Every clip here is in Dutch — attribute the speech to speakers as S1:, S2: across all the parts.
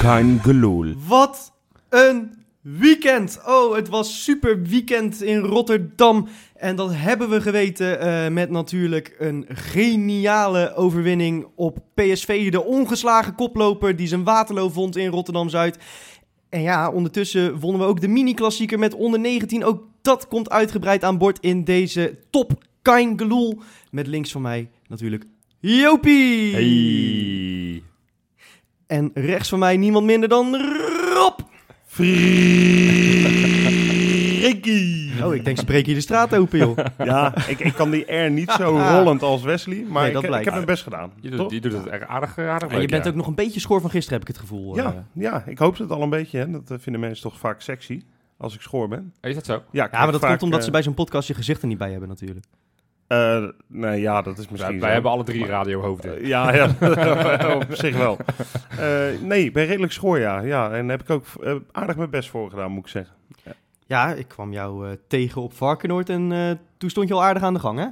S1: kein gelul.
S2: Wat een weekend! Oh, het was super weekend in Rotterdam. En dat hebben we geweten eh, met natuurlijk een geniale overwinning op PSV. De ongeslagen koploper die zijn Waterloo vond in Rotterdam-Zuid. En ja, ondertussen wonnen we ook de mini-klassieker met onder 19. Ook dat komt uitgebreid aan boord in deze top Kein Geloel. Met links van mij natuurlijk Jopie.
S1: Hey.
S2: En rechts van mij niemand minder dan Rob.
S1: Ricky.
S2: Oh, ik denk, ze breken hier de straat open, joh.
S1: Ja, ik, ik kan die R niet zo rollend als Wesley, maar
S2: Nee,
S1: ik,
S2: dat
S1: ik
S2: blijkt.
S1: heb mijn best gedaan.
S3: Je Ah. doet,
S1: Toch?
S3: je doet het echt aardig, eh, aardig
S2: En je
S3: leuk,
S2: bent
S3: ja.
S2: ook nog een beetje schoor van gisteren, heb ik het gevoel. eh.
S1: Ja, ja, ik hoop het al een beetje. Hè. Dat eh, vinden mensen toch vaak sexy als ik schoor ben.
S3: Is dat zo?
S1: Ja, ik
S2: ja maar
S1: krijg
S2: dat
S1: vaak,
S2: komt omdat
S1: eh,
S2: ze bij zo'n podcast je gezicht er niet bij hebben, natuurlijk.
S1: eh, nee, ja, dat is misschien.
S3: Wij,
S1: zo.
S3: wij hebben alle drie radiohoofden.
S1: Eh, ja, ja, op zich wel. Eh, nee, ik ben redelijk schoor, ja. ja en daar heb ik ook eh, aardig mijn best voor gedaan, moet ik zeggen.
S2: Ja, ik kwam jou eh, tegen op Varkenoord en eh, toen stond je al aardig aan de gang, hè?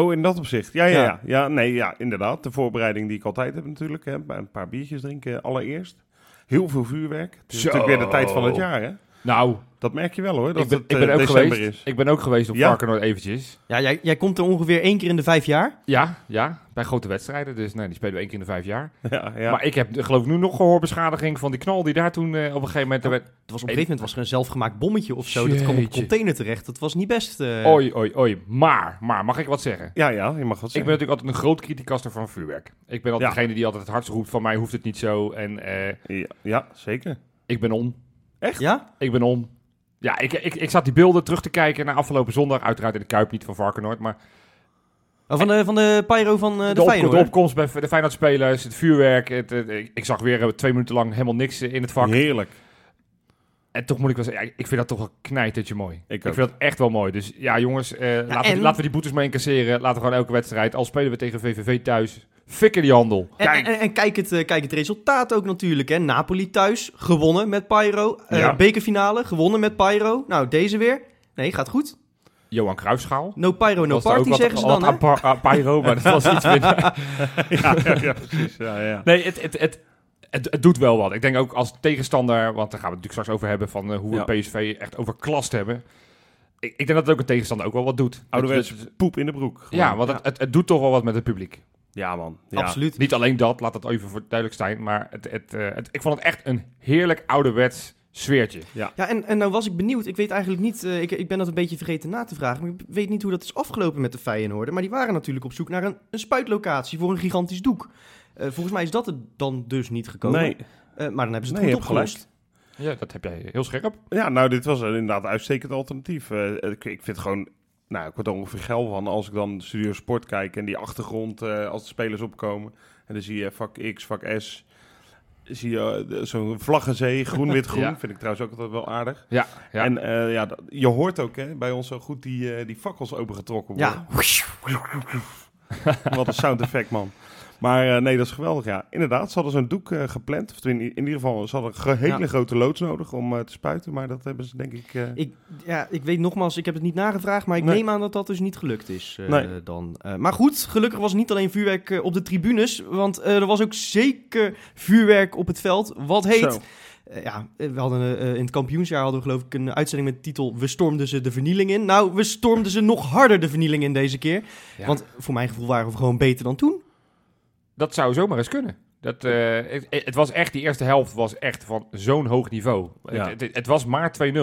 S1: Oh, in dat opzicht. Ja, ja,
S2: Ja.
S1: ja. ja. nee, ja, inderdaad. De voorbereiding die ik altijd heb natuurlijk. Hè. Een paar biertjes drinken allereerst. Heel veel vuurwerk. Het is
S3: Zo.
S1: natuurlijk weer de tijd van het jaar, hè.
S3: Nou,
S1: Dat merk je wel, hoor. Dat
S3: ik ben,
S1: het
S3: ik
S1: eh,
S3: ben ook
S1: december
S3: geweest.
S1: is.
S3: Ik ben ook geweest op
S1: Ja.
S3: Varkenoord eventjes.
S2: Ja, jij, jij komt er ongeveer één keer in de vijf jaar.
S3: Ja, ja, bij grote wedstrijden. Dus nee, die spelen we één keer in de vijf jaar.
S1: Ja, ja.
S3: Maar ik heb eh, geloof ik nu nog gehoorbeschadiging van die knal die daar toen eh, op een gegeven moment...
S1: Oh,
S3: er werd-
S2: Het was op een gegeven moment was er een zelfgemaakt bommetje of zo. Dat kwam op een
S3: Jeetje.
S2: container terecht. Dat was niet best. eh.
S3: Oei, oei, oei. Maar, maar, mag ik wat zeggen?
S1: ja, ja, je mag wat
S3: Ik
S1: zeggen.
S3: ben natuurlijk altijd een groot criticaster van vuurwerk. Ik ben altijd
S1: Ja.
S3: degene die altijd het hardst roept van mij hoeft het niet zo. En eh,
S1: Ja, ja, zeker.
S3: ik ben om.
S2: Ja?
S3: Ik ben om. Ja, ik, ik, ik zat die beelden terug te kijken naar afgelopen zondag. Uiteraard in de Kuip, niet van Varkenoord. Maar
S2: Oh, van, de, van de pyro van eh, de,
S3: de, op-
S2: Feyenoord.
S3: de opkomst bij de Feyenoord-spelers, het vuurwerk. Het, het- ik, ik zag weer eh, twee minuten lang helemaal niks eh, in het vak.
S1: Heerlijk.
S3: En toch moet ik wel zeggen, ja, ik vind dat toch wel knijtertje mooi.
S1: Ik ook.
S3: vind dat echt wel mooi. Dus ja, jongens, eh, laten, we,
S2: en-
S3: laten we die boetes maar incasseren. Laten we gewoon elke wedstrijd, al spelen we tegen VVV thuis, fikken die handel.
S2: En,
S1: Kijk.
S2: en- en kijk, het, eh, kijk het resultaat ook natuurlijk. Hè. Napoli thuis, gewonnen met Pyro. Eh,
S1: Ja.
S2: Bekerfinale, gewonnen met Pyro. Nou, deze weer. Nee, gaat goed.
S3: Johan Cruijffschaal.
S2: No Pyro, no
S3: Was er ook
S2: party
S3: wat-
S2: zeggen ze
S3: wat
S2: dan. hè?
S3: aan par- aan Pyro, maar dat was iets minder.
S1: ja, ja, ja, precies. Ja, ja.
S3: Nee, het, het, het, het, het doet wel wat. Ik denk ook als tegenstander, want daar gaan we het natuurlijk straks over hebben, van eh, hoe we
S1: Ja.
S3: PSV echt overklast hebben. Ik, ik denk dat het ook een tegenstander ook wel wat doet.
S1: Ouderwets
S3: Het- het-
S1: poep in de broek. gewoon.
S3: ja, want Het, het, het doet toch wel wat met het publiek.
S1: Ja, man. Ja.
S2: Absoluut.
S3: Niet alleen dat, laat dat even voor duidelijk zijn, maar het, het, eh, het- ik vond het echt een heerlijk ouderwets sfeertje.
S2: Ja, en, en nou was ik benieuwd. Ik weet eigenlijk niet, eh, ik, ik ben dat een beetje vergeten na te vragen. Maar ik weet niet hoe dat is afgelopen met de Feyenoord. Maar die waren natuurlijk op zoek naar een, een spuitlocatie voor een gigantisch doek. Eh, volgens mij is dat er dan dus niet gekomen.
S1: Nee.
S2: Eh, maar dan hebben ze het
S1: Nee,
S2: goed
S1: je hebt
S2: opgelost.
S3: Ja, dat heb jij heel scherp.
S1: Ja, nou, dit was een inderdaad een uitstekend alternatief. Eh, ik, ik vind gewoon... Nou, ik word er ongeveer geil van als ik dan Studio Sport kijk en die achtergrond eh, als de spelers opkomen. En dan zie je vak X, vak S. Zie je eh, de- zo'n vlaggenzee, groen, wit, groen.
S3: Ja.
S1: Vind ik trouwens ook altijd wel aardig.
S3: Ja, ja.
S1: En eh, ja, dat- je hoort ook hè, bij ons zo goed die, eh, die fakkels opengetrokken worden.
S2: Ja,
S1: Wat een sound effect, man. Maar eh, nee, dat is geweldig, ja. Inderdaad, ze hadden zo'n doek eh, gepland. Of in, in ieder geval, ze hadden een ge- hele
S2: Ja.
S1: grote loods nodig om eh, te spuiten. Maar dat hebben ze denk ik... eh,
S2: ik, ja, ik weet nogmaals, ik heb het niet nagevraagd. Maar ik
S1: Nee.
S2: neem aan dat dat dus niet gelukt is eh,
S1: Nee.
S2: dan. Eh, maar goed, gelukkig was het niet alleen vuurwerk eh, op de tribunes. Want eh, er was ook zeker vuurwerk op het veld. Wat heet...
S1: Zo.
S2: Eh, ja, eh, we hadden eh, eh, in het kampioensjaar hadden we geloof ik een uitzending met de titel We stormden ze de vernieling in. Nou, we stormden ze nog harder de vernieling in deze keer.
S3: Ja.
S2: Want voor mijn gevoel waren we gewoon beter dan toen.
S3: Dat zou zomaar eens kunnen. Dat, eh, het, het was echt, die eerste helft was echt van zo'n hoog niveau.
S1: Ja.
S3: Het, het, het was maar 2-0.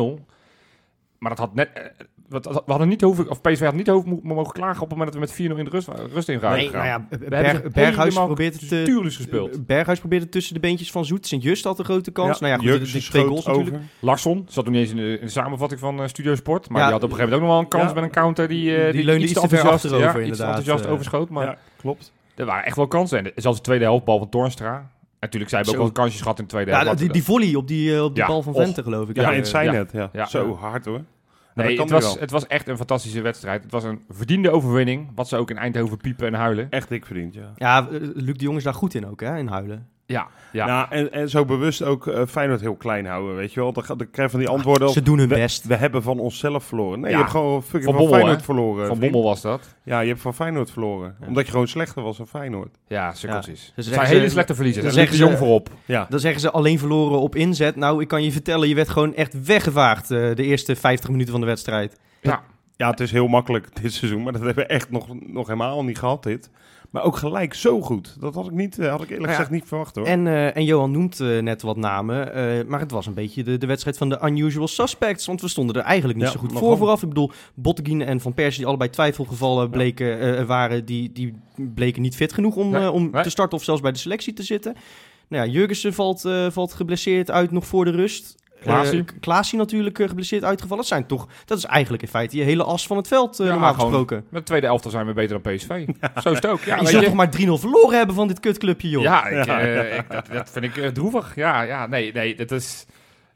S3: Maar dat had net. eh, wat- We hadden niet hoeven, of PSV had niet hoeven mo- mogen klagen op het moment dat we met 4-0 in de rust, rust in
S2: nee, nou ja, eh,
S3: hebben
S2: Berg-
S3: ze
S2: Berghuis
S3: helemaal
S2: probeert het... eh,
S3: gespeeld.
S2: eh, Berghuis probeerde tussen de beentjes van Zoet. Sint-Just had een grote kans. nou ja, goed,
S1: Jurksen
S2: de- de twee
S1: schoot
S2: goals natuurlijk.
S1: over.
S3: Larsson zat toen niet eens in de, in de samenvatting van eh, Studio Sport. Maar
S2: Ja.
S3: die had op een gegeven moment ook nog wel een kans
S1: Ja.
S3: met een counter die. eh,
S2: Die leunde iets te ver
S3: enthousiast-
S2: achterover,
S3: ja, iets te
S2: inderdaad,
S3: enthousiast
S2: eh.
S3: overschoot. Maar
S1: Ja, klopt.
S3: er waren echt wel kansen. En zelfs de tweede helft, bal van Toornstra. Natuurlijk, zij hebben ook
S2: Zo.
S3: wel kansjes gehad in de tweede
S2: Ja,
S3: helft.
S2: die, die volley op die, eh, op die
S3: Ja,
S2: bal van
S3: och.
S2: Vente geloof ik.
S1: Ja,
S2: Eh,
S1: in het zijnet, ja.
S3: Ja.
S1: Zo hard, hoor. Maar dat
S3: Nee,
S1: kan
S3: het
S1: nu
S3: was,
S1: wel.
S3: het was echt een fantastische wedstrijd. Het was een verdiende overwinning. Wat ze ook in Eindhoven piepen en huilen.
S1: Echt dik verdiend, ja.
S2: Ja, eh, Luc de Jong is daar goed in ook, hè, in huilen.
S3: Ja,
S1: Ja,
S3: ja.
S1: Nou, en, en zo bewust ook eh, Feyenoord heel klein houden, weet je wel. Dan, ga- dan krijg je van die antwoorden als,
S2: Ze doen hun
S1: we,
S2: best.
S1: we hebben van onszelf verloren. Nee,
S3: Ja.
S1: je hebt gewoon fucking
S3: Van
S1: van,
S3: Bommel,
S1: Feyenoord
S3: hè?
S2: Nou,
S1: verloren.
S3: van
S2: eh,
S1: vriend.
S3: Bommel was dat.
S1: Ja, je hebt van Feyenoord verloren.
S3: Ja.
S1: Omdat je gewoon slechter was dan Feyenoord.
S3: Ja, cirkeltjes. Het zijn
S2: Dus zeggen
S3: hele
S2: ze-
S3: slechte verliezers.
S2: dan
S3: En Luc de
S2: zeggen
S3: Jong
S2: ze-
S3: voorop.
S1: Ja,
S2: Dan zeggen ze alleen verloren op inzet. Nou, ik kan je vertellen, je werd gewoon echt weggevaagd eh, de eerste 50 minuten van de wedstrijd.
S1: ja het is heel makkelijk dit seizoen. Maar dat hebben we echt nog, nog helemaal niet gehad, dit. Maar ook gelijk zo goed. Dat had ik, niet, eh, had ik eerlijk
S2: Ja.
S1: gezegd niet verwacht, hoor.
S2: En, eh, en Johan noemt eh, net wat namen, eh, maar het was een beetje de, de wedstrijd van de unusual suspects. Want we stonden er eigenlijk niet
S1: Ja,
S2: zo goed
S1: maar
S2: voor
S1: gewoon-
S2: vooraf. Ik bedoel, Botteguin en Van Persie, die allebei twijfelgevallen bleken, eh, waren, die, die bleken niet fit genoeg om,
S3: Nee,
S2: eh, om
S3: nee.
S2: te starten of zelfs bij de selectie te zitten. Nou ja, Jurgensen valt, eh, valt geblesseerd uit nog voor de rust.
S3: Klaasie.
S2: Eh, K- Klaasie natuurlijk eh, geblesseerd uitgevallen. Dat, zijn toch, dat is eigenlijk in feite je hele as van het veld, eh,
S3: Ja,
S2: normaal
S3: gewoon-
S2: gesproken.
S3: Met de tweede elftal zijn we beter dan PSV. Zo is het ook. Ja,
S2: je
S3: weet
S2: zou
S3: je.
S2: toch maar 3-0 verloren hebben van dit kutclubje, joh.
S3: Ja, ik,
S1: Ja,
S3: eh, ik- dat, dat vind ik eh, droevig. Ja, ja, nee, nee, dat is...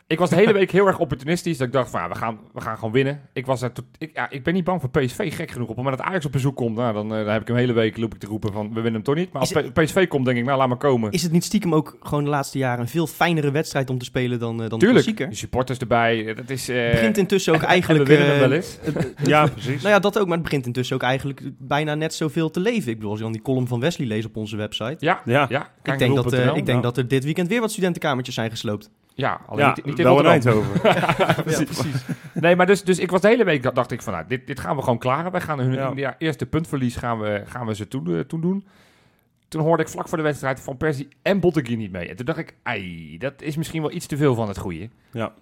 S3: Ik was de hele week heel erg opportunistisch. Dat ik dacht van, ja, we gaan, we gaan gewoon winnen. Ik, was er tot- ik, ja, ik ben niet bang voor PSV, gek genoeg. Op het moment dat Ajax op bezoek komt, nou, dan, eh, dan heb ik hem de hele week loop ik te roepen van, we winnen hem toch niet. Maar als
S2: Is het-
S3: P- PSV komt, denk ik, nou, laat maar komen.
S2: Is het niet stiekem ook gewoon de laatste jaren een veel fijnere wedstrijd om te spelen dan, eh, dan
S3: Tuurlijk,
S2: de
S3: de
S2: klassieker?
S3: supporters erbij. Dat is... eh,
S2: Het begint intussen ook
S3: en-
S2: eigenlijk...
S3: En we winnen hem
S2: eh,
S3: wel eens.
S1: ja, precies.
S2: Nou ja, dat ook, maar het begint intussen ook eigenlijk bijna net zoveel te leven. Ik bedoel, als je dan die column van Wesley leest op onze website.
S3: Ja,
S1: Ja.
S3: ja.
S2: Ik denk, dat, eh,
S3: kijkdoel.nl.
S2: ik denk dat er dit weekend weer wat studentenkamertjes zijn gesloopt.
S3: Ja, alleen
S1: ja,
S3: niet, niet in
S1: wel in
S3: Rotterdam.
S1: Eindhoven.
S2: Ja, precies.
S3: Nee, maar dus, dus ik was de hele week, dacht ik van, nou, dit, dit gaan we gewoon klaren. Wij gaan hun
S1: Ja.
S3: hun- ja, eerste puntverlies gaan we, gaan we ze toen, eh, toen doen. Toen hoorde ik vlak voor de wedstrijd van Persie en Botteguin niet mee. En toen dacht ik, ei, dat is misschien wel iets te veel van het goede.
S1: Ja.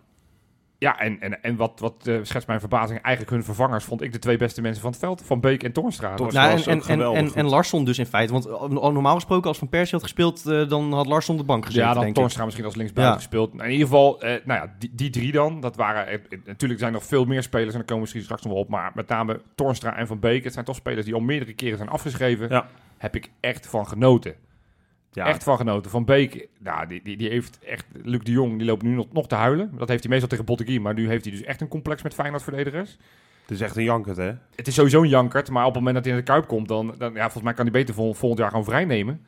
S3: Ja, en, en, en wat, wat eh, schetst mijn verbazing, eigenlijk hun vervangers vond ik de twee beste mensen van het veld. Van Beek en Toornstra.
S1: Toornstra.
S2: Nou,
S1: was
S2: en, en,
S1: ook
S2: en,
S1: geweldig
S2: en,
S1: goed.
S2: en Larsson dus in feite. Want eh, normaal gesproken, als Van Persie had gespeeld, eh, dan had Larsson op de bank gezeten,
S3: Ja, dan
S2: denk ik.
S3: Torstra misschien als linksbuiten
S2: Ja.
S3: gespeeld. Nou, in ieder geval, eh, nou ja, die, die drie dan. Dat waren, eh, eh, natuurlijk zijn er nog veel meer spelers en daar komen we misschien straks nog wel op. Maar met name Torstra en Van Beek, het zijn toch spelers die al meerdere keren zijn afgeschreven.
S1: Ja.
S3: Heb ik echt van genoten.
S1: Ja,
S3: Echt van genoten. Van Beek, nou, die, die, die heeft echt, Luc de Jong, die loopt nu nog, nog te huilen. Dat heeft hij meestal tegen Bottegui, maar nu heeft hij dus echt een complex met Feyenoord-verdedigers.
S1: het is echt een jankert, hè?
S3: Het is sowieso een jankert, maar op het moment dat hij in de Kuip komt, dan, dan ja, volgens mij kan hij beter vol, volgend jaar gewoon vrijnemen.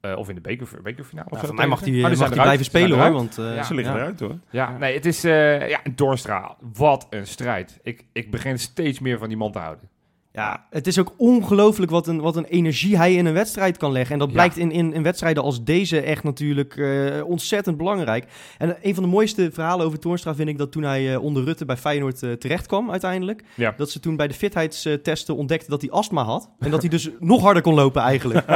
S3: Eh, of in de beker, bekerfinale.
S2: Ja,
S3: of zo
S2: voor mij mag
S3: tegen.
S2: hij
S3: Maar die zijn eruit.
S2: blijven
S3: Die zijn
S2: spelen, hoor.
S3: eruit.
S2: Want, eh,
S3: Ja,
S1: Ze liggen
S2: ja.
S1: eruit, hoor.
S3: Ja, nee, het is... eh, ja, en Dorstra, wat een strijd. Ik, ik begin steeds meer van die man te houden.
S2: Ja, het is ook ongelooflijk wat een, wat een energie hij in een wedstrijd kan leggen. En dat
S3: Ja.
S2: blijkt in, in, in wedstrijden als deze echt natuurlijk eh, ontzettend belangrijk. En een van de mooiste verhalen over Toornstra vind ik dat toen hij eh, onder Rutte bij Feyenoord eh, terecht kwam uiteindelijk.
S3: Ja.
S2: Dat ze toen bij de fitheidstesten ontdekten dat hij astma had. En dat hij dus nog harder kon lopen eigenlijk.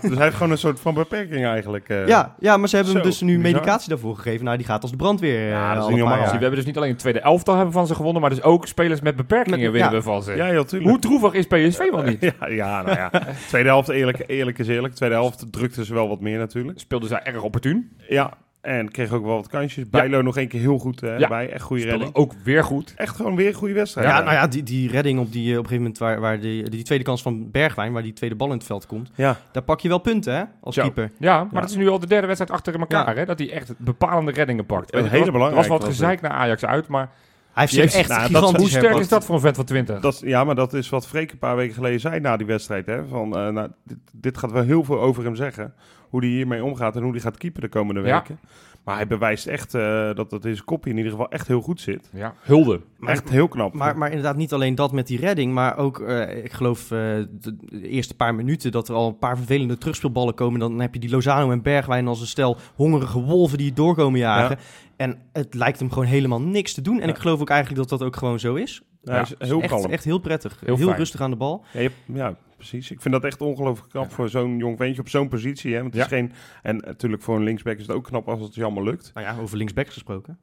S1: Dus hij heeft gewoon een soort van beperking eigenlijk. eh.
S2: ja, ja, maar ze hebben hem
S1: Zo,
S2: dus nu
S1: bizar.
S2: medicatie daarvoor gegeven. Nou, die gaat als de brandweer. eh,
S1: Oh, Ja, dat
S2: alle
S1: is niet
S2: paar
S1: normaal.
S2: jaar.
S3: Dus we hebben dus niet alleen de tweede elftal hebben van ze gewonnen, maar dus ook spelers met beperkingen
S2: Met-
S3: winnen
S2: ja.
S3: we van ze.
S1: Ja, ja, tuurlijk.
S3: Hoe droevig is PSV wel niet?
S1: Ja, ja, nou ja. Tweede helft, eerlijk, eerlijk is eerlijk. Tweede helft drukte ze wel wat meer natuurlijk.
S3: Speelden zij erg opportun.
S1: Ja, en kreeg ook wel wat kansjes. Bijlo nog één keer heel goed hè,
S3: Ja.
S1: bij. Echt goede
S3: Speelden
S1: redding.
S3: ook weer goed.
S1: Echt gewoon weer een goede wedstrijd.
S2: Ja, nou ja, die, die redding op, die, eh, op een gegeven moment waar, waar die, die tweede kans van Bergwijn, waar die tweede bal in het veld komt.
S1: Ja.
S2: Daar pak je wel punten, hè, als
S3: Zo.
S2: keeper.
S3: Ja, maar
S1: Ja.
S3: dat is nu al de derde wedstrijd achter elkaar, hè? Dat hij echt bepalende reddingen pakt.
S1: Een
S3: Weet je,
S1: hele
S3: er was-
S1: belangrijke
S3: Er was wat
S1: was
S3: gezeik naar Ajax uit, maar
S2: Hij heeft
S3: Die
S2: zich
S3: heeft-
S2: echt
S1: nou, dat-
S2: gigantisch
S3: hoe sterk
S2: herpakt.
S3: is dat voor een vent van 20?
S1: Dat, ja, maar dat is wat Freek een paar weken geleden zei na die wedstrijd. Hè? Van, eh, nou, dit, dit gaat wel heel veel over hem zeggen. Hoe hij hiermee omgaat en hoe hij gaat keeper de komende
S3: Ja.
S1: weken. Maar hij bewijst echt eh, dat dat in zijn kopje in ieder geval echt heel goed zit.
S3: Ja, hulde.
S2: Maar-
S1: echt heel knap.
S2: Maar, maar inderdaad, niet alleen dat met die redding, maar ook, eh, ik geloof, eh, de, de eerste paar minuten dat er al een paar vervelende terugspeelballen komen. Dan heb je die Lozano en Bergwijn als een stel hongerige wolven die het doorkomen jagen. En het lijkt hem gewoon helemaal niks te doen. En
S1: Ja.
S2: ik geloof ook eigenlijk dat dat ook gewoon zo is.
S1: hij is
S3: ja,
S1: heel
S2: echt,
S1: kalm.
S2: echt heel prettig.
S3: Heel
S2: Heel,
S3: fijn.
S2: rustig aan de bal.
S1: Ja, je hebt- ja, precies. Ik vind dat echt ongelooflijk knap voor zo'n jong ventje op zo'n positie. Hè? Want het is geen, en natuurlijk voor een linksback is het ook knap als het je allemaal lukt.
S2: Nou ja, over linksbacks gesproken.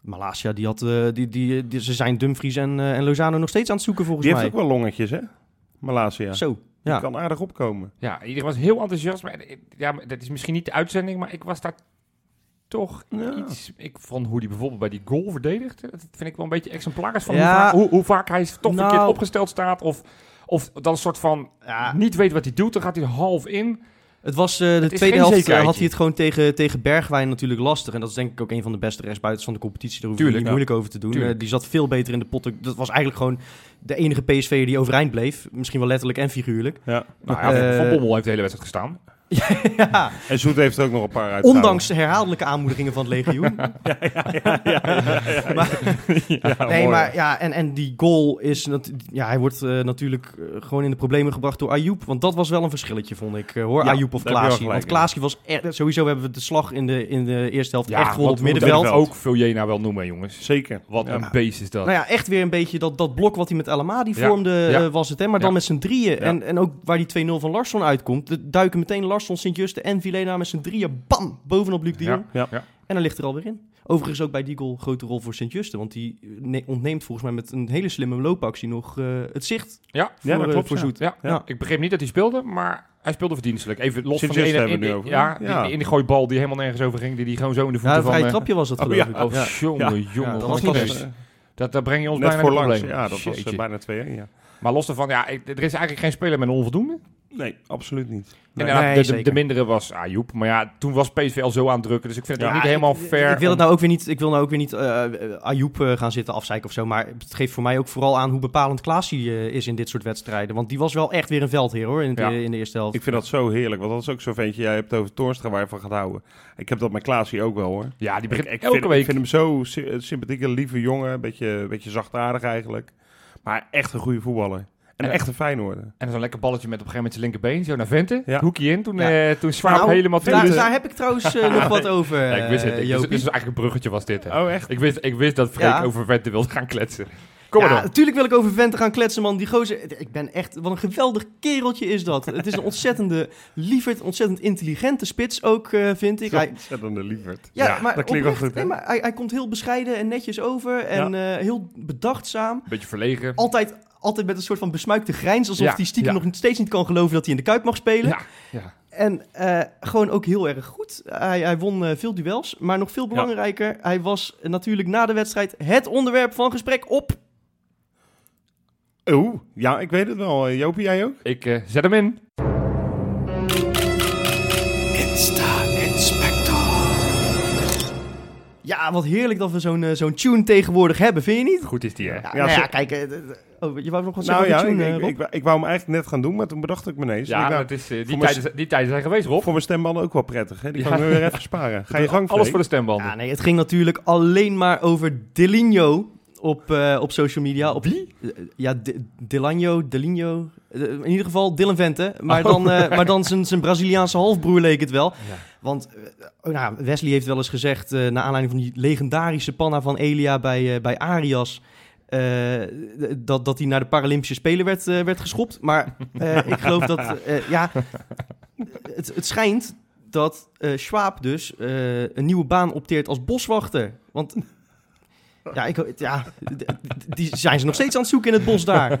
S2: Malasia, die had, eh, die, die, die- ze zijn Dumfries en, eh, en Lozano nog steeds aan het zoeken volgens
S1: Die
S2: mij.
S1: heeft ook wel longetjes, hè? Malasia.
S2: Zo,
S1: Die
S2: ja.
S1: kan aardig opkomen.
S3: Ja, iedereen was heel enthousiast. Maar, eh, ja, maar dat is misschien niet de uitzending, maar ik was daar toch
S1: Ja.
S3: iets... Ik vond hoe die bijvoorbeeld bij die goal verdedigt. Dat vind ik wel een beetje exemplarisch van
S2: Ja.
S3: hoe, vaak, hoe, hoe vaak hij toch
S2: Nou.
S3: verkeerd opgesteld staat. Of, of dan een soort van
S2: ja.
S3: niet weet wat hij doet. Dan gaat hij half in.
S2: Het was eh, de
S3: is
S2: tweede
S3: geen
S2: helft, eh,
S3: zekerheidje.
S2: had hij het gewoon tegen, tegen Bergwijn natuurlijk lastig. En dat is denk ik ook een van de beste rechtsbuitens van de competitie. Daar hoef je
S3: Tuurlijk,
S2: niet
S3: ja.
S2: moeilijk over te doen.
S3: Tuurlijk.
S2: Eh, die zat veel beter in de pot. Dat was eigenlijk gewoon de enige PSV'er die overeind bleef. Misschien wel letterlijk en figuurlijk.
S1: Ja.
S3: Nou ja,
S2: Eh,
S3: van Bommel heeft de hele wedstrijd gestaan.
S2: ja,
S1: En Zoet heeft er ook nog een paar uit.
S2: ondanks herhaaldelijke aanmoedigingen van het legioen. nee, maar ja, en, en die goal is... nat- Ja, hij wordt eh, natuurlijk eh, gewoon in de problemen gebracht door Ayoub. Want dat was wel een verschilletje, vond ik. eh, hoor,
S1: Ja,
S2: Ayoub of
S1: daar heb je
S2: Klaasie.
S1: wel
S2: Want
S1: gelijk in.
S2: Klaasie was... echt- sowieso hebben we de slag in de, in de eerste helft echt gewonnen op het
S3: want we moeten
S2: middenveld.
S3: Ook Viljena wel noemen, jongens.
S1: Zeker.
S3: Wat
S1: Ja.
S3: een beest is dat.
S2: Nou ja, echt weer een beetje dat, dat blok wat hij met Alamadi
S3: Ja,
S2: vormde
S3: ja.
S2: eh, was het. Hè? Maar dan
S3: Ja.
S2: met z'n drieën. En,
S1: Ja.
S2: en ook waar die 2-0 van Larsson uitkomt. de- duiken meteen Larsson, Sint-Juste en Vilena met z'n drieën. Bam! Bovenop Luc de Jong.
S1: Ja,
S3: ja.
S2: En dan ligt er alweer in. Overigens ook bij die goal grote rol voor Sint-Juste. Want die eh, ne- ontneemt volgens mij met een hele slimme loopactie nog eh, het zicht.
S3: Ja,
S2: voor,
S1: dat
S2: eh,
S1: klopt,
S2: voor
S1: ja.
S2: Zoet.
S3: Ja,
S2: Ja.
S3: ik begreep niet dat hij speelde, maar hij speelde verdienstelijk. Even los van
S1: Sint-Just
S3: de ene...
S1: hebben we
S3: in-
S1: nu over.
S3: Ja, die-
S1: Ja.
S3: Die, in die gooibal die helemaal nergens over ging. Die, die gewoon zo in de
S2: Ja,
S3: voeten
S2: een
S3: van...
S2: vrij
S3: eh,
S2: trapje was dat
S1: oh,
S2: geloof
S1: ja.
S2: ik.
S3: Oh,
S2: Ja.
S3: jonge,
S1: Ja.
S3: jonge.
S2: Ja, dat
S3: wat
S2: was
S3: een
S2: niet
S1: eh,
S2: best.
S3: beest. Dat, dat breng je ons
S1: Net
S3: bijna
S1: voor
S3: in het
S1: langs.
S3: probleem.
S1: Ja, dat was eh,
S3: Jeetje.
S1: bijna 2-1. Ja.
S3: Maar los daarvan, ja, ik- er is eigenlijk geen speler met een onvoldoende.
S1: Nee, absoluut niet.
S3: En
S1: Nee.
S3: ja,
S2: Nee,
S3: de- de, de,
S2: zeker.
S3: mindere was Ayoub. Maar ja, toen was PSV al zo aan het drukken. Dus ik vind het ook
S2: Ja,
S3: niet helemaal
S2: ik-
S3: fair.
S2: Ik wil,
S3: om-
S2: het nou ook weer niet, ik wil nou ook weer niet eh eh, Ayoub eh, gaan zitten afzeiken of zo. Maar het geeft voor mij ook vooral aan hoe bepalend Klaasie eh, is in dit soort wedstrijden. Want die was wel echt weer een veldheer hoor in, de-
S3: Ja.
S2: in de eerste helft.
S1: Ik vind dat zo heerlijk, want dat is ook zo'n ventje. Jij hebt het over Toornstra waar je van gaat houden. Ik heb dat met Klaas hier ook wel hoor.
S3: Ja, die begint
S1: ik,
S3: elke
S1: vind,
S3: week.
S1: ik vind hem zo sy- een sympathieke, lieve jongen. Een beetje, beetje zachtaardig eigenlijk. Maar echt een goede voetballer. En
S3: Ja.
S1: echt een Feyenoorder.
S3: En zo'n lekker balletje met op een gegeven moment zijn linkerbeen. Zo naar Vente.
S1: Ja. Nou,
S3: Hoekje in. Toen,
S2: Ja.
S3: eh, toen Swaap helemaal
S2: Nou, daar,
S3: tegen.
S2: daar heb ik trouwens eh, nog wat over.
S3: Ja, ik wist het. Ik,
S2: eh,
S3: dus, dus
S2: Jopie.
S3: eigenlijk een bruggetje was dit. Hè.
S1: Oh, echt?
S3: Ik, wist, ik wist dat Freek
S2: Ja.
S3: over Vente wilde gaan kletsen. Kom maar
S2: ja,
S3: dan.
S2: natuurlijk wil ik over Vente gaan kletsen, man. Die gozer, ik ben echt, wat een geweldig kereltje is dat. Het is een ontzettende lieverd, ontzettend intelligente spits ook, eh, vind ik.
S1: Zo'n
S2: Hij,
S1: ontzettende lieverd.
S2: ja, maar
S1: dat klinkt wel
S2: oprecht,
S1: goed, hè?
S2: nee, maar hij, hij komt heel bescheiden en netjes over en eh, heel bedachtzaam.
S3: Beetje verlegen.
S2: altijd, altijd met een soort van besmuikte grijns. Alsof
S3: Ja,
S2: hij stiekem
S3: ja.
S2: nog steeds niet kan geloven dat hij in de Kuip mag spelen.
S3: Ja, ja.
S2: En eh, gewoon ook heel erg goed. Hij, hij won eh, veel duels. Maar nog veel belangrijker, hij was natuurlijk na de wedstrijd het onderwerp van gesprek op.
S1: Oeh, ja, ik weet het wel. Eh, Jopie, jij ook?
S3: Ik eh, zet hem in.
S2: Ja, wat heerlijk dat we zo'n eh, zo'n tune tegenwoordig hebben, vind je niet?
S3: Goed is die, hè?
S2: Ja,
S1: Ja,
S2: nou ja,
S1: zo-
S2: kijk. eh, d- oh, je wou nog wat
S1: nou
S2: zeggen
S1: ja,
S2: over de tune,
S1: ik,
S2: eh,
S1: ik,
S2: Rob?
S1: ik, wou- ik wou hem eigenlijk net gaan doen, maar toen bedacht ik me ineens.
S3: Ja,
S1: Ik dacht,
S3: dat is, eh, die,
S1: voor mijn
S3: tijden, zijn- die tijden zijn geweest, Rob.
S1: voor mijn stembanden ook wel prettig, hè? Die kan
S3: Ja.
S1: ik nu weer even sparen. Ga je gang,
S3: Alles
S1: Freek.
S3: voor de stembanden.
S2: Ja, nee, het ging natuurlijk alleen maar over Delinho op, eh, op social media. Op, Wie? ja, De- Delagno, Delinho. Eh, in ieder geval Dylan Vente. Maar
S3: Oh.
S2: dan, eh, maar dan zijn, zijn Braziliaanse halfbroer leek het wel.
S3: Ja.
S2: Want eh, oh, nou, Wesley heeft wel eens gezegd, eh naar aanleiding van die legendarische panna van Elia bij, eh, bij Arias... eh, d- dat, dat hij naar de Paralympische Spelen werd, eh, werd geschopt. Maar eh, ik geloof dat... eh, ja, het, het schijnt dat eh Schwab dus eh, een nieuwe baan opteert als boswachter. Want ja, ik, ja, d- d- die zijn ze nog steeds aan het zoeken in het bos daar.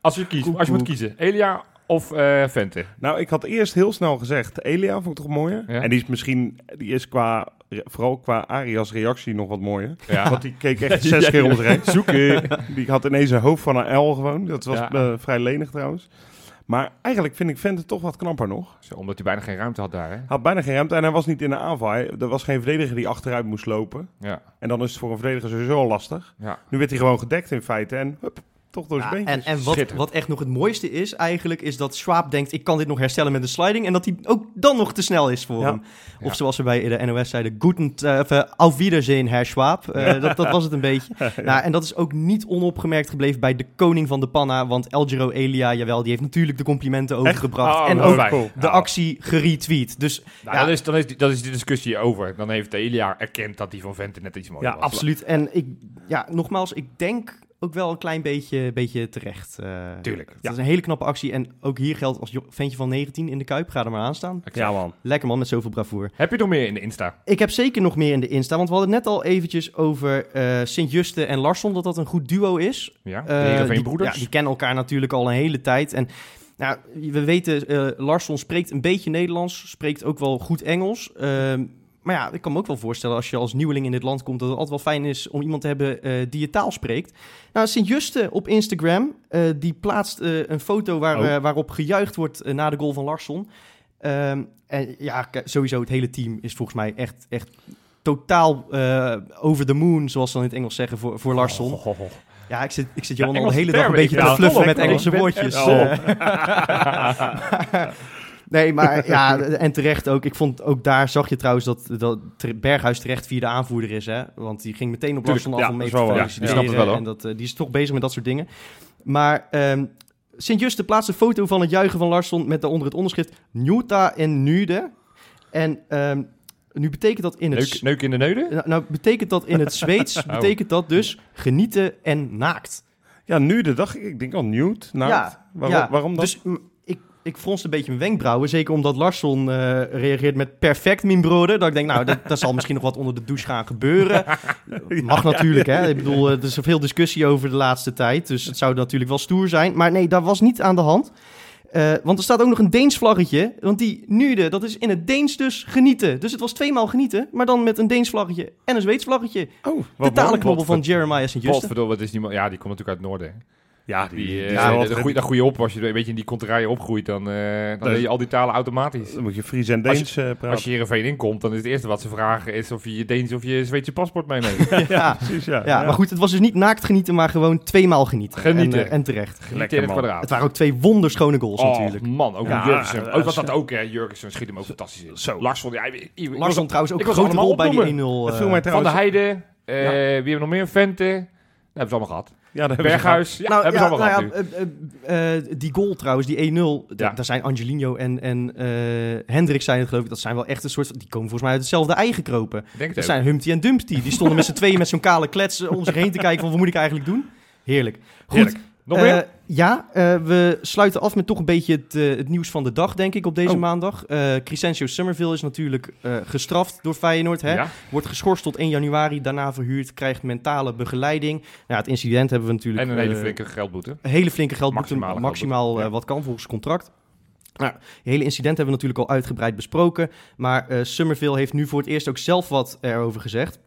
S3: Als je, kiest, als je moet kiezen, Elia of eh, Vente.
S1: Nou, ik had eerst heel snel gezegd, Elia vond ik toch mooier?
S3: Ja.
S1: En die is misschien, die is qua, vooral qua Arias reactie nog wat mooier.
S3: Ja.
S1: Want die keek echt zes keer om zich heen. Zoeken. Die had ineens een hoofd van een L gewoon. Dat was
S3: Ja.
S1: eh, vrij lenig trouwens. Maar eigenlijk vind ik Vente toch wat knapper nog.
S3: Zo, omdat hij bijna geen ruimte had daar, hè?
S1: Hij had bijna geen ruimte en hij was niet in de aanval. Hij- er was geen verdediger die achteruit moest lopen.
S3: Ja.
S1: En dan is het voor een verdediger sowieso al lastig.
S3: Ja.
S1: Nu werd hij gewoon gedekt in feite en hup, toch door zijn
S2: Ja,
S1: beentjes.
S2: en en wat,
S3: Schitterend.
S2: wat echt nog het mooiste is eigenlijk, is dat Schwab denkt... ik kan dit nog herstellen met een sliding... en dat hij ook dan nog te snel is voor
S1: Ja.
S2: hem. Of
S3: Ja.
S2: zoals ze bij eh, de NOS zeiden... Guten, eh, of, eh, auf Wiedersehen, Herr Schwab. Eh, dat, dat was het een beetje. Nou, en dat is ook niet onopgemerkt gebleven bij de koning van de panna... want El Giro Elia, jawel, die heeft natuurlijk de complimenten overgebracht...
S3: Oh,
S2: en
S3: dat is
S2: ook
S3: fijn.
S1: cool.
S2: de actie geretweet. Dus
S3: Nou,
S2: Ja.
S3: Dan, is, dan, is, die- dan is die discussie over. Dan heeft Elia erkend dat die van Vente net iets mooier
S1: Ja,
S3: was.
S2: absoluut. En ik, ja, nogmaals, ik denk ook wel een klein beetje, beetje terecht. eh.
S3: Tuurlijk.
S2: Het is een hele knappe actie. En ook hier geldt als jo- ventje van 19 in de Kuip, ga er maar aan staan.
S3: Exact.
S1: Ja man.
S2: Lekker man, met zoveel bravoer.
S3: Heb je nog meer in de Insta?
S2: Ik heb zeker nog meer in de Insta, want we hadden het net al eventjes over eh Sint-Juste en Larsson, dat dat een goed duo is.
S3: Ja, de
S2: Eh,
S3: Heerenveen
S2: die-
S3: broeders.
S2: Ja, die kennen elkaar natuurlijk al een hele tijd. En nou, we weten, eh Larsson spreekt een beetje Nederlands, spreekt ook wel goed Engels. Ehm, maar ja, ik kan me ook wel voorstellen als je als nieuweling in dit land komt, dat het altijd wel fijn is om iemand te hebben eh, die je taal spreekt. Nou, Sint-Juste op Instagram, eh, die plaatst eh, een foto waar,
S1: Oh.
S2: eh, waarop gejuicht wordt eh, na de goal van Larsson. Ehm, en ja, k- sowieso het hele team is volgens mij echt, echt totaal eh, over the moon, zoals ze dan in het Engels zeggen, voor,
S3: Oh,
S2: voor Larsson.
S3: Ho, ho, ho.
S2: Ja, ik zit, ik zit Johan
S3: Ja,
S2: al de
S3: Engelse
S2: hele dag een
S3: termen,
S2: beetje
S3: ik
S2: te
S3: vind het
S2: fluffen met
S3: wel lekker.
S2: Engelse
S3: Ik ben
S2: woordjes.
S1: echt-
S2: eh. Nee, maar ja, en terecht ook. Ik vond ook daar zag je trouwens dat, dat Ter- Berghuis terecht vierde aanvoerder is. Hè? Want die ging meteen op
S1: Tuurlijk,
S2: Larsson af
S1: ja,
S2: om
S1: dat
S2: mee
S1: is
S2: te
S1: wel waar.
S2: feliciteren.
S1: Ja,
S3: die snapt het wel, hoor.
S2: en dat, eh, die is toch bezig met dat soort dingen. Maar ehm Sint-Juste plaatste een foto van het juichen van Larsson met daaronder het onderschrift Njuta en Nude. En ehm, nu betekent dat in het...
S3: Neuk, neuk in de neuden?
S2: Nou, nou, betekent dat in het Zweeds,
S1: Oh.
S2: betekent dat dus genieten en naakt.
S1: Ja, nu de dag, ik denk al nude. Nou,
S2: Ja,
S1: waarom,
S2: ja.
S1: waarom dat?
S2: Dus mm, ik, ik fronste een beetje mijn wenkbrauwen, zeker omdat Larsson eh, reageert met perfect, mijn broeder. Dat ik denk, nou, dat, dat zal misschien nog wat onder de douche gaan gebeuren. Mag natuurlijk, hè. Ik bedoel, eh, er is veel discussie over de laatste tijd, dus het zou natuurlijk wel stoer zijn. Maar nee, dat was niet aan de hand. Eh, want er staat ook nog een Deens vlaggetje, want die nude, dat is in het Deens dus genieten. Dus het was tweemaal genieten, maar dan met een Deens vlaggetje en een Zweeds vlaggetje.
S1: oh, wat
S2: De
S1: mooi.
S2: talenknobbel van
S1: Wat-
S2: Jeremiah St. Justin.
S3: Godverdomme, wat is die man? Ja, die komt natuurlijk uit het noorden.
S1: Ja, die,
S3: Die,
S1: die,
S3: eh,
S1: is
S3: ja,
S1: wel
S3: de
S1: wat-
S3: goeie- de goede op, als je een beetje in die contraien opgroeit, dan, eh dan
S1: Dus-
S3: leer je al die talen automatisch.
S1: Dan moet je Fries en
S3: Als je-
S1: Deens eh, praten.
S3: Als je hier in Veen inkomt, dan is het eerste wat ze vragen is of je je Deens of je Zweedse paspoort meeneemt.
S2: Ja.
S1: Precies, ja.
S2: Ja, maar goed, het was dus niet naakt genieten, maar gewoon tweemaal genieten.
S3: Genieten.
S2: En, eh, en terecht.
S3: Niet in het
S1: man.
S3: kwadraat.
S2: Het waren ook twee wonderschone goals
S3: Oh,
S2: natuurlijk.
S3: man, ook
S1: Ja,
S3: Jurgensen.
S1: eh,
S3: Ook wat
S1: eh,
S3: dat ook, hè. Jurgensen schiet hem ook fantastisch in.
S1: Zo.
S3: Larsson, ja, ik- ik-
S2: Larsson trouwens ook
S3: ik
S2: een
S3: was
S2: grote rol
S3: allemaal
S2: bij die 1-0.
S3: opnoemen.
S1: Dat
S2: eh,
S1: viel mij
S3: Van
S1: trouwens...
S3: de Heide, eh, wie hebben we nog meer? Vente, dat hebben ze allemaal gehad.
S1: ja, daar hebben ze
S3: Berghuis, ja,
S2: nou,
S3: hebben
S2: ja,
S3: ze allemaal
S2: nou
S3: gehad nu.
S2: ja, eh, eh, eh, die goal trouwens, die 1-0, da-
S3: Ja.
S2: daar zijn Angelino en, en eh Hendrik zijn het geloof ik, dat zijn wel echt een soort van, die komen volgens mij uit hetzelfde ei gekropen.
S3: Ik Denk
S2: Dat
S3: het ook.
S2: zijn Humpty en Dumpty, die stonden met z'n tweeën met zo'n kale klets eh, om zich heen te kijken van, wat moet ik eigenlijk doen? Heerlijk. Goed,
S3: Heerlijk. Nog
S2: Eh,
S3: meer?
S2: ja, eh, we sluiten af met toch een beetje het, eh, het nieuws van de dag, denk ik, op deze
S1: Oh.
S2: maandag. Eh Crescencio Summerville is natuurlijk eh, gestraft door Feyenoord. Hè?
S3: Ja.
S2: Wordt geschorst tot 1 januari, daarna verhuurd, krijgt mentale begeleiding. Ja, het incident hebben we natuurlijk...
S3: En een hele
S2: eh,
S3: flinke geldboete.
S2: een hele flinke geldboete,
S3: Maximale
S2: maximaal,
S3: geldboete,
S2: eh,
S3: ja.
S2: wat kan volgens contract. Nou, het hele incident hebben we natuurlijk al uitgebreid besproken. Maar eh Summerville heeft nu voor het eerst ook zelf wat erover gezegd.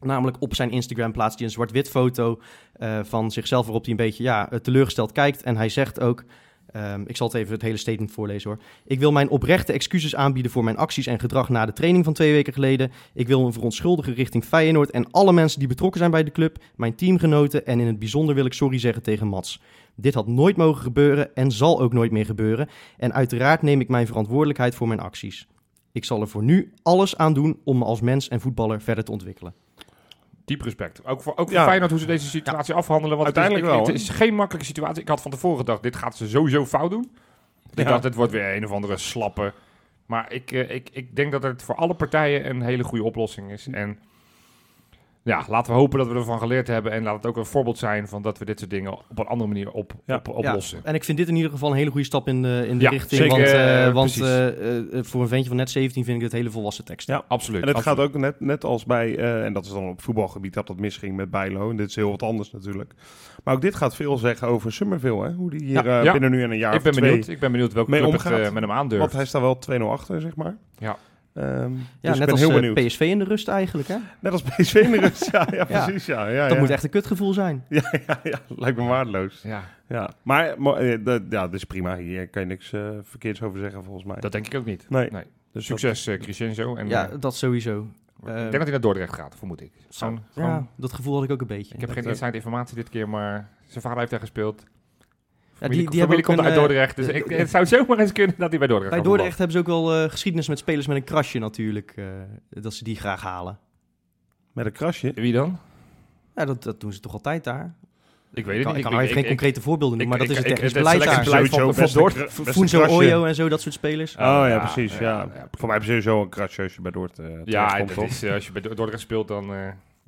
S2: Namelijk op zijn Instagram plaatst hij een zwart-wit foto eh, van zichzelf waarop hij een beetje ja, eh, teleurgesteld kijkt. En hij zegt ook, ehm, ik zal het even het hele statement voorlezen hoor. Ik wil mijn oprechte excuses aanbieden voor mijn acties en gedrag na de training van twee weken geleden. Ik wil me verontschuldigen richting Feyenoord en alle mensen die betrokken zijn bij de club, mijn teamgenoten en in het bijzonder wil ik sorry zeggen tegen Mats. Dit had nooit mogen gebeuren en zal ook nooit meer gebeuren. En uiteraard neem ik mijn verantwoordelijkheid voor mijn acties. Ik zal er voor nu alles aan doen om me als mens en voetballer verder te ontwikkelen.
S3: Diep respect. Ook voor, ook voor
S1: Ja.
S3: Feyenoord hoe ze deze situatie afhandelen. Want
S1: Uiteindelijk
S3: het is, ik-
S1: wel,
S3: Het is geen makkelijke situatie. Ik had van tevoren gedacht, dit gaat ze sowieso fout doen. Ik
S1: Ja.
S3: dacht, het wordt weer een of andere slappe. Maar ik, eh, ik, ik denk dat het voor alle partijen een hele goede oplossing is. En ja, laten we hopen dat we ervan geleerd hebben. En laat het ook een voorbeeld zijn van dat we dit soort dingen op een andere manier op,
S1: Ja.
S3: op, oplossen.
S2: En ik vind dit in ieder geval een hele goede stap in de, in de
S3: Ja,
S2: richting.
S3: zeker,
S2: want eh,
S3: eh,
S2: want
S3: precies.
S2: eh, eh, voor een ventje van net 17 vind ik dit hele volwassen tekst.
S1: Ja.
S3: Absoluut.
S1: En het
S3: absoluut.
S1: gaat ook net, net als bij, eh, en dat is dan op voetbalgebied dat dat misging met Bijlo. En dit is heel wat anders natuurlijk. Maar ook dit gaat veel zeggen over Summerville. Hè? Hoe die hier
S3: Ja,
S1: eh,
S3: ja.
S1: binnen nu en een jaar
S3: Ik ben
S1: of twee-
S3: benieuwd. Ik ben benieuwd welke
S1: mee
S3: club het,
S1: omgaat.
S3: eh, met hem
S1: Want
S3: aandurft.
S1: hij staat wel 2-0 achter, zeg maar.
S3: Ja.
S1: Ehm,
S2: Ja,
S1: dus
S2: net
S1: ik
S2: als
S1: ben heel
S2: eh,
S1: benieuwd.
S2: PSV in de rust eigenlijk. Hè?
S1: Net als PSV in de rust. Ja, ja,
S2: Ja.
S1: precies. Ja, ja,
S2: Dat
S1: ja.
S2: moet echt een kutgevoel zijn.
S1: Ja, ja, ja, lijkt me waardeloos.
S3: Ja,
S1: Ja. Maar, maar, eh, dat, ja, dat is prima. Hier kan je niks eh, verkeerds over zeggen, volgens mij.
S3: dat denk ik ook niet.
S1: nee.
S3: nee.
S1: Dus dat-
S3: Succes, eh Crescenzo. En,
S2: Ja,
S3: eh,
S2: dat sowieso.
S3: ik
S2: eh,
S3: denk dat hij naar Dordrecht gaat, vermoed ik. eh, Gewoon- gewoon-
S2: Ja, dat gevoel had ik ook een beetje.
S3: Ik heb geen
S1: ook.
S3: inside informatie dit keer, maar zijn vader heeft daar gespeeld.
S2: Ja,
S3: Familie,
S2: die hebben
S3: familie
S2: ook
S3: komt
S2: een,
S3: uit
S2: eh,
S3: Dordrecht, dus
S2: de-
S3: ik,
S2: de-
S3: het zou zomaar eens kunnen dat hij bij Dordrecht
S2: Bij
S3: gaat
S2: Dordrecht hebben ze ook wel eh, geschiedenis met spelers met een krasje natuurlijk. eh, dat ze die graag halen.
S1: Met een krasje.
S3: voetballen. Wie dan?
S2: Ja, dat, dat doen ze toch altijd daar?
S3: Ik
S2: Ik
S3: weet
S2: kan,
S3: het
S2: ik
S3: niet.
S2: kan er even geen concrete voorbeelden noemen, maar dat is het technisch beleid
S1: selectie-
S2: daar.
S1: beleid
S3: van,
S1: van-
S3: van
S1: van Dordrecht.
S3: Dordrecht.
S1: beste
S2: Funzo
S1: krasje.
S2: Oyo en zo, dat soort spelers.
S1: Oh ja, precies. Ja. eh, Voor mij hebben ze sowieso een krasje als je bij Dordrecht eh, terechtkomt,
S3: Ja, dat
S1: toch?
S3: is, eh, als je bij Dor- Dordrecht speelt, dan eh,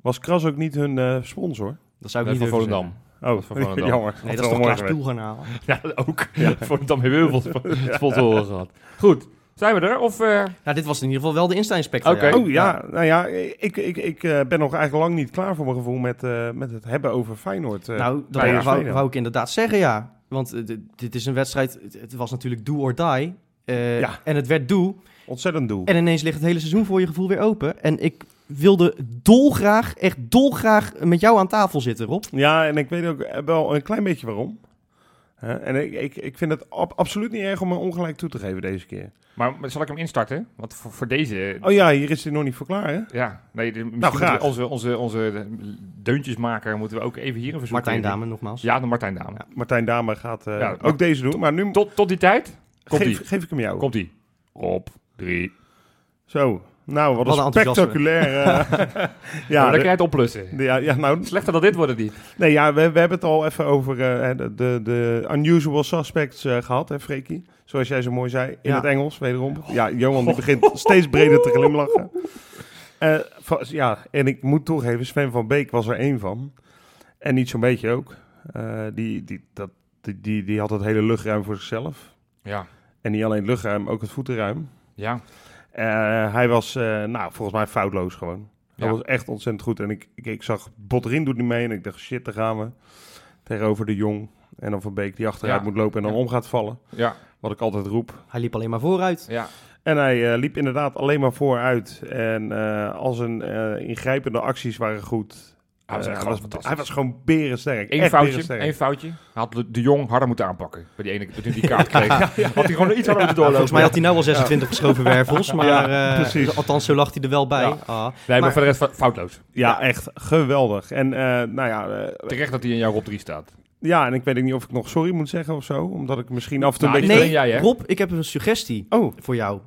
S1: Was Kras ook niet hun eh, sponsor?
S2: Dat zou ik
S3: eh,
S2: niet
S3: van
S2: durven
S3: Volendam.
S2: zeggen.
S1: Oh,
S3: is van Volendam.
S1: jammer.
S2: Nee,
S1: Had
S2: dat is
S1: wel
S2: toch
S1: mooi
S2: Klaas
S1: geweest.
S2: Ploel gaan halen.
S3: Ja, ook. Volendam heeft heel veel spo- sponsoren gehad. Goed, zijn we er? Of, eh,
S2: Nou, dit was in ieder geval wel de Insta-inspector.
S3: Oké.
S1: Oh ja, nou ja, ik, ik, ik eh, ben nog eigenlijk lang niet klaar voor mijn gevoel met, eh, met het hebben over Feyenoord. eh.
S2: Nou, dat
S1: Bij
S2: wou,
S1: PSV
S2: wou-
S1: dan.
S2: wou ik inderdaad zeggen, ja. Want eh, dit, dit is een wedstrijd, het- het was natuurlijk do or die. eh,
S1: Ja.
S2: En het werd do.
S1: Ontzettend doel.
S2: En ineens ligt het hele seizoen voor je gevoel weer open. En ik wilde dolgraag, echt dolgraag met jou aan tafel zitten, Rob.
S1: Ja, en ik weet ook eh, wel een klein beetje waarom. Hè, en ik, ik, ik vind het ab- absoluut niet erg om me ongelijk toe te geven deze keer.
S3: maar maar zal ik hem instarten? Want voor, voor deze...
S1: Oh ja, hier is hij nog niet voor klaar, hè?
S3: Ja, nee, de-
S2: Nou,
S3: misschien moeten we
S1: graag.
S3: onze, onze, onze deuntjesmaker moeten we ook even hier een verzoek
S2: Martijn
S3: in doen.
S2: Dame nogmaals.
S3: Ja, de Martijn Dame.
S1: Martijn Dame gaat eh,
S3: Ja, maar-
S1: ook deze doen, maar nu...
S3: Tot, tot die tijd? Komt-ie.
S1: Geef, geef ik hem jou.
S3: Komt-ie. Op drie.
S1: Zo. Nou, wat,
S2: Wat een
S1: een
S2: enthousiasme.
S1: spectaculair... eh,
S3: Ja,
S1: ja,
S3: Oh, dan kan
S1: de-
S3: je het oplussen.
S1: ja, ja, nou,
S3: Slechter dan dit worden die.
S1: Nee, ja, we, we hebben het al even over eh, de, de, de unusual suspects eh, gehad, hè, Freekie? Zoals jij zo mooi zei, in
S2: Ja. Oh.
S1: het Engels, wederom. Ja, Johan die begint steeds breder te glimlachen. Eh, va- ja, en ik moet toegeven, Sven van Beek was er één van. En niet zo'n beetje ook. Eh, die, die, dat, die, die, die had het hele luchtruim voor zichzelf.
S3: Ja.
S1: En niet alleen het luchtruim, ook het voetenruim.
S3: Ja.
S1: Eh, hij was, eh, nou, volgens mij foutloos gewoon. Hij
S3: Ja.
S1: was echt ontzettend goed. En ik, ik, ik zag Botterin doet niet mee en ik dacht, shit, daar gaan we. Tegenover de Jong. En dan Van Beek die achteruit
S3: Ja.
S1: moet lopen en dan
S3: Ja.
S1: om gaat vallen.
S3: Ja.
S1: Wat ik altijd roep.
S2: Hij liep alleen maar vooruit.
S3: Ja.
S1: En hij eh, liep inderdaad alleen maar vooruit. En eh, al zijn eh, ingrijpende acties waren goed.
S3: Hij was
S1: Eh,
S3: echt
S1: hij,
S3: gewoon
S1: was,
S3: fantastisch.
S1: hij was gewoon berensterk.
S3: Eén
S1: Echt
S3: foutje,
S1: berensterk.
S3: één foutje. Hij had de, de Jong harder moeten aanpakken. Bij die ene toen hij die kaart kreeg. Had hij gewoon iets harder moeten doorlopen.
S2: Volgens mij had hij nou al 26 geschoven wervels, maar eh,
S1: precies.
S2: althans zo lag hij er wel bij.
S3: Ja.
S2: Ah.
S3: Nee, maar,
S2: Maar-
S3: voor de rest fa- foutloos.
S1: Ja, echt geweldig. En eh, nou ja, eh,
S3: Terecht dat hij in jouw op 3 staat.
S1: ja, en ik weet ook niet of ik nog sorry moet zeggen of zo. Omdat ik misschien af en toe
S3: Nou,
S1: een
S3: ik-
S1: beetje...
S2: Nee,
S3: alleen jij, hè?
S2: Rob, ik heb een suggestie
S1: Oh,
S2: voor jou.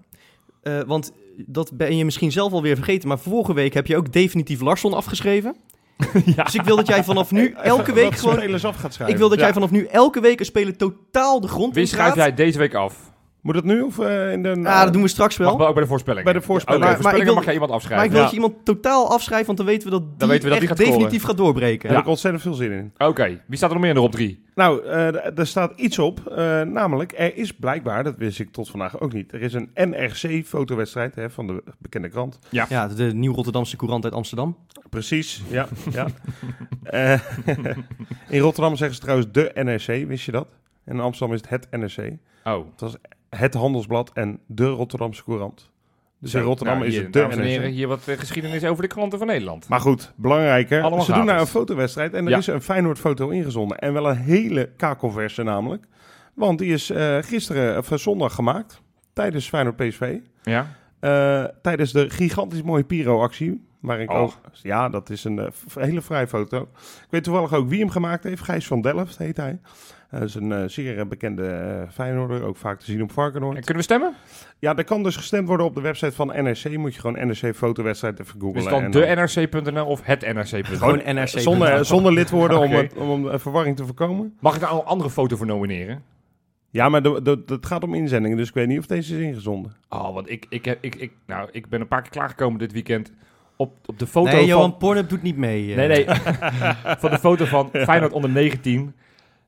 S2: Eh, want dat ben je misschien zelf alweer vergeten, maar vorige week heb je ook definitief Larsson afgeschreven. Dus ik wil dat jij vanaf nu elke week
S1: dat
S2: gewoon...
S1: spelers af gaat schrijven.
S2: Ik wil dat jij
S3: Ja.
S2: vanaf nu elke week een speler totaal de grond
S3: Wie
S2: in
S3: schrijft jij deze week af?
S1: Moet dat nu of eh, in de...
S2: Ja, Ah, dat doen we straks wel.
S3: Mag wel ook bij de voorspelling.
S1: Bij de voorspelling.
S2: Maar-
S3: maar,
S2: maar ik wil-
S3: mag jij iemand
S2: Maar ik
S3: afschrijven.
S2: wil
S1: Ja.
S2: dat je iemand totaal afschrijft, want dan weten we dat die,
S3: Dan weten we dat die
S2: echt
S3: gaat scoren.
S2: definitief gaat doorbreken.
S1: Daar heb
S3: Ja.
S1: ik ontzettend veel zin in.
S3: Oké, wie staat er nog meer nog op drie?
S1: Nou, eh, d- daar staat iets op. eh, namelijk, er is blijkbaar, dat wist ik tot vandaag ook niet, er is een NRC-fotowedstrijd hè, van de bekende krant.
S2: Ja, de Nieuw Rotterdamse Courant uit Amsterdam.
S1: Precies, ja. ja. Eh, in Rotterdam zeggen ze trouwens de NRC, wist je dat? En in Amsterdam is het het NRC.
S3: Oh.
S1: Het Handelsblad en de Rotterdamse Courant. Dus in
S3: Zo,
S1: Rotterdam
S3: nou,
S1: is
S3: hier,
S1: het de
S3: dames en heren,
S1: NRC.
S3: hier wat eh, geschiedenis over de kranten van Nederland.
S1: Maar goed, belangrijker.
S3: Allemaal
S1: ze doen
S3: gratis.
S1: naar een fotowedstrijd en er
S3: Ja.
S1: is een Feyenoord-foto ingezonden. En wel een hele kakelverse namelijk. Want die is eh, gisteren of eh, zondag gemaakt tijdens Feyenoord-PSV.
S3: Ja?
S1: Eh, tijdens de gigantisch mooie Piro-actie. Waar ik
S3: Oh.
S1: ook... Ja, dat is een eh, f- hele fraaie foto. Ik weet toevallig ook wie hem gemaakt heeft. Gijs van Delft heet hij. Eh, dat is een eh, zeer eh, bekende eh, Feyenoorder. Ook vaak te zien op
S3: En
S1: Varkenoord.
S3: kunnen we stemmen?
S1: Ja, er kan dus gestemd worden op de website van NRC. Moet je gewoon NRC fotowedstrijd even googlen.
S3: Is het Dus dan
S1: en
S3: de
S1: dan-
S3: NRC.nl of het NRC.nl?
S2: Gewoon NRC.
S1: Zonder, zonder lid worden om,
S3: Oké.
S1: het, om eh, verwarring te voorkomen.
S3: Mag ik daar een andere foto voor nomineren?
S1: Ja, maar de- de- het gaat om inzendingen, dus ik weet niet of deze is ingezonden.
S3: Oh, want ik, ik, heb, ik, ik, nou, ik ben een paar keer klaargekomen dit weekend op, op de foto
S2: nee, Johan,
S3: van...
S2: Pornhub doet niet mee. eh.
S3: Nee, nee. van de foto van Feyenoord onder 19.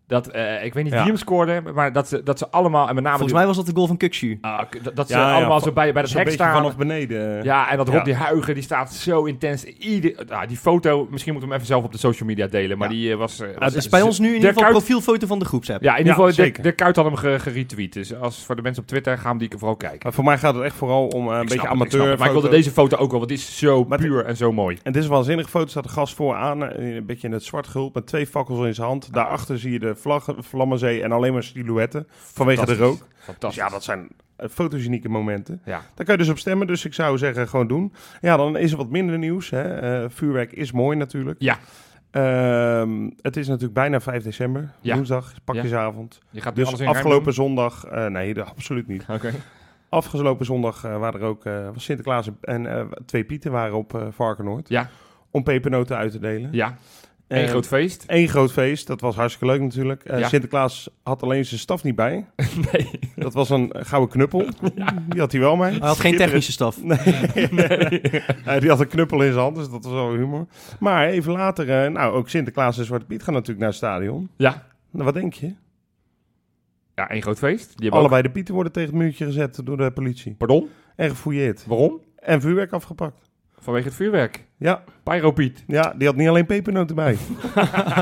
S3: Dat, eh, ik weet niet
S1: Ja.
S3: wie hem scoorde, maar dat ze, dat ze allemaal, en met name...
S2: Volgens
S3: die-
S2: mij was dat de goal van Kukshu.
S3: Ah, k- dat, dat ze
S1: Ja, ja,
S3: allemaal
S1: van-
S3: zo bij, bij dat
S1: Zo'n
S3: hek
S1: beetje
S3: staan.
S1: vanaf beneden. eh. Ja.
S3: Ja, en dat Rob
S1: Ja.
S3: die Huigen, die staat zo intens. Ieder, nou, die foto, misschien moeten we hem even zelf op de social media delen, maar
S2: Ja.
S3: die eh, was... eh, was
S2: Dat is Dus bij ons nu in ieder geval
S3: Kuit-
S2: profielfoto van de groepsapp.
S3: Ja, in ieder
S1: Ja,
S3: geval, de
S1: zeker.
S3: Dirk Kuyt had hem ge- geretweet. Dus als voor de mensen op Twitter, gaan die vooral kijken.
S1: Maar voor mij gaat het echt vooral om eh, een
S3: Ik
S1: beetje
S3: snap het, ik snap
S1: amateur.
S3: het. Maar ik wilde
S1: foto's.
S3: deze foto ook wel, want die is zo
S1: Maar het-
S3: puur en zo mooi.
S1: En dit is een waanzinnige foto. Er staat een gast vooraan, eh, een beetje in het zwart gehuld, met twee fakkels in zijn
S3: Ah.
S1: hand. Daarachter zie je de vlag, Vlammenzee en alleen maar silhouetten vanwege de rook. Dus
S3: Fantastisch.
S1: ja, dat zijn eh, fotogenieke momenten.
S3: Ja.
S1: Daar kan je dus op stemmen, dus ik zou zeggen gewoon doen. Ja, dan is er wat minder nieuws. Hè. Eh, vuurwerk is mooi natuurlijk.
S3: Ja.
S1: Ehm, het is natuurlijk bijna 5 december,
S3: Ja.
S1: woensdag, pakjesavond.
S3: Je gaat nu alles
S1: Dus
S3: in ruim
S1: afgelopen zondag, eh, nee, dat absoluut niet.
S3: doen? Oké.
S1: Afgelopen zondag eh, waren er ook, eh, was Sinterklaas en- en eh, twee pieten waren op eh, Varkenoord.
S3: Ja.
S1: Om pepernoten uit te delen.
S3: Ja,
S1: Eh,
S3: één groot feest.
S1: één groot feest, dat was hartstikke leuk natuurlijk. Eh,
S3: Ja.
S1: Sinterklaas had alleen zijn staf niet bij.
S3: Nee.
S1: Dat was een gouden knuppel. Die had hij wel mee.
S2: Hij had geen technische staf.
S1: Eh, die had een knuppel in zijn hand, dus dat was wel humor. Maar even later, eh, nou ook Sinterklaas en Zwarte Piet gaan natuurlijk naar het stadion.
S3: Ja.
S1: Nou, wat denk je?
S3: Ja, één groot feest. Die hebben
S1: Allebei de pieten worden tegen het muurtje gezet door de politie.
S3: ook- Pardon?
S1: En gefouilleerd.
S3: Waarom?
S1: En vuurwerk afgepakt.
S3: Vanwege het vuurwerk.
S1: Ja,
S3: Pyropiet.
S1: Ja, die had niet alleen pepernoten bij.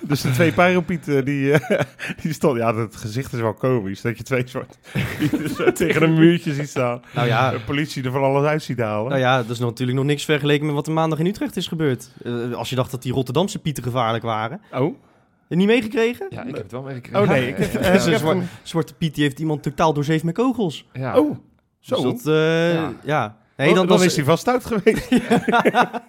S1: dus de twee pyropieten, die, eh, die stond... Ja, het gezicht is wel komisch. Dat je twee soort pieten zo tegen een muurtje ziet staan.
S2: Nou ja,
S1: De politie er van alles uit ziet halen.
S2: nou ja, dat is natuurlijk nog niks vergeleken met wat er maandag in Utrecht is gebeurd. Eh, als je dacht dat die Rotterdamse pieten gevaarlijk waren.
S1: Oh?
S2: Heb je Niet meegekregen?
S3: Ja, ik heb het wel meegekregen.
S1: Oh nee, ik heb,
S3: Ja,
S1: eh,
S2: is een
S1: ik heb
S2: zwart-
S1: hem-
S2: Zwarte Piet die heeft iemand totaal doorzeefd met kogels.
S3: ja.
S1: Oh, zo. Oh,
S2: Dus dat, eh,
S3: Ja.
S2: ja. ja. Nee, dan, was-
S1: is hij vast uit geweest.
S3: Zullen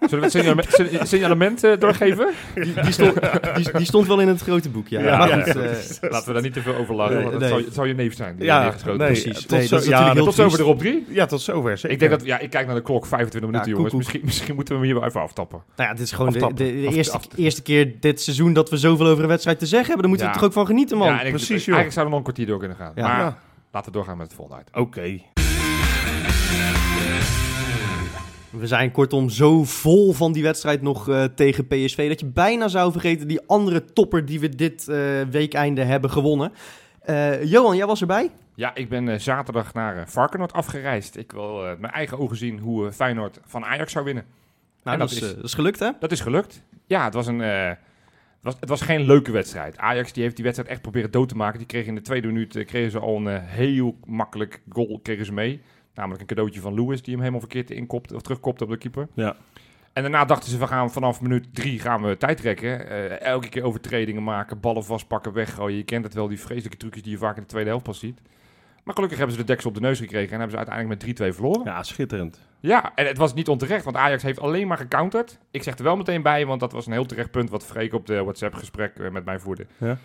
S3: we het signalement, sin- signalement eh, doorgeven?
S2: die, die, stond, die, die stond wel in het grote boek, ja.
S1: Ja,
S2: maar
S1: ja.
S2: goed, eh,
S3: Laten we daar niet te veel over lachen,
S1: Nee,
S3: want het,
S2: nee.
S3: zou, het zou je neef zijn. Die
S1: Ja,
S3: ja, geschoten.
S1: nee,
S2: precies.
S1: tot
S2: Nee,
S1: zo-
S2: dat is
S1: ja,
S2: natuurlijk heel
S3: Tot zover de
S2: triest.
S3: op drie.
S1: Ja, tot zover. Zeker.
S3: Ik denk dat, ja, ik kijk naar de klok, 25 minuten
S2: Ja,
S3: jongens.
S2: koekoek.
S3: Misschien, misschien moeten we hem hier wel even aftappen.
S2: Nou ja, dit is gewoon de, de,
S1: Aftappen.
S2: de
S1: Af-
S2: eerste,
S1: af-
S2: eerste keer dit seizoen dat we zoveel over een wedstrijd te zeggen hebben. Daar moeten we
S3: Ja.
S2: toch ook van genieten, man.
S3: ja, en ik-
S1: precies, joh.
S3: Eigenlijk zouden we nog een kwartier door kunnen gaan.
S2: Ja.
S3: Maar
S1: Ja.
S3: laten we doorgaan met het volgende item.
S1: Oké.
S2: We zijn kortom zo vol van die wedstrijd nog eh, tegen PSV dat je bijna zou vergeten die andere topper die we dit eh, weekeinde hebben gewonnen. Eh, Johan, jij was erbij?
S3: Ja, ik ben eh, zaterdag naar eh, Varkenoord afgereisd. Ik wil eh, met mijn eigen ogen zien hoe eh, Feyenoord van Ajax zou winnen.
S2: Nou,
S3: En
S2: dat,
S3: dat
S2: is,
S3: is-
S2: eh, dat is gelukt, hè?
S3: Dat is gelukt. Ja, het was, een, eh, het was, het was geen leuke wedstrijd. Ajax die heeft die wedstrijd echt proberen dood te maken. Die kregen in de tweede minuut eh, kregen ze al een eh, heel makkelijk goal kregen ze mee. Namelijk een cadeautje van Lewis die hem helemaal verkeerd inkopt, of terugkopte op de keeper.
S1: Ja.
S3: En daarna dachten ze, we gaan vanaf minuut drie gaan we tijd rekken. Eh, elke keer overtredingen maken, ballen vastpakken, weggooien. Je kent het wel, die vreselijke trucjes die je vaak in de tweede helft pas ziet. Maar gelukkig hebben ze de deksel op de neus gekregen en hebben ze uiteindelijk met 3-2 verloren.
S1: Ja, schitterend.
S3: Ja, en het was niet onterecht, want Ajax heeft alleen maar gecounterd. Ik zeg er wel meteen bij, want dat was een heel terecht punt wat Freek op de WhatsApp-gesprek eh, met mij voerde.
S1: Ja.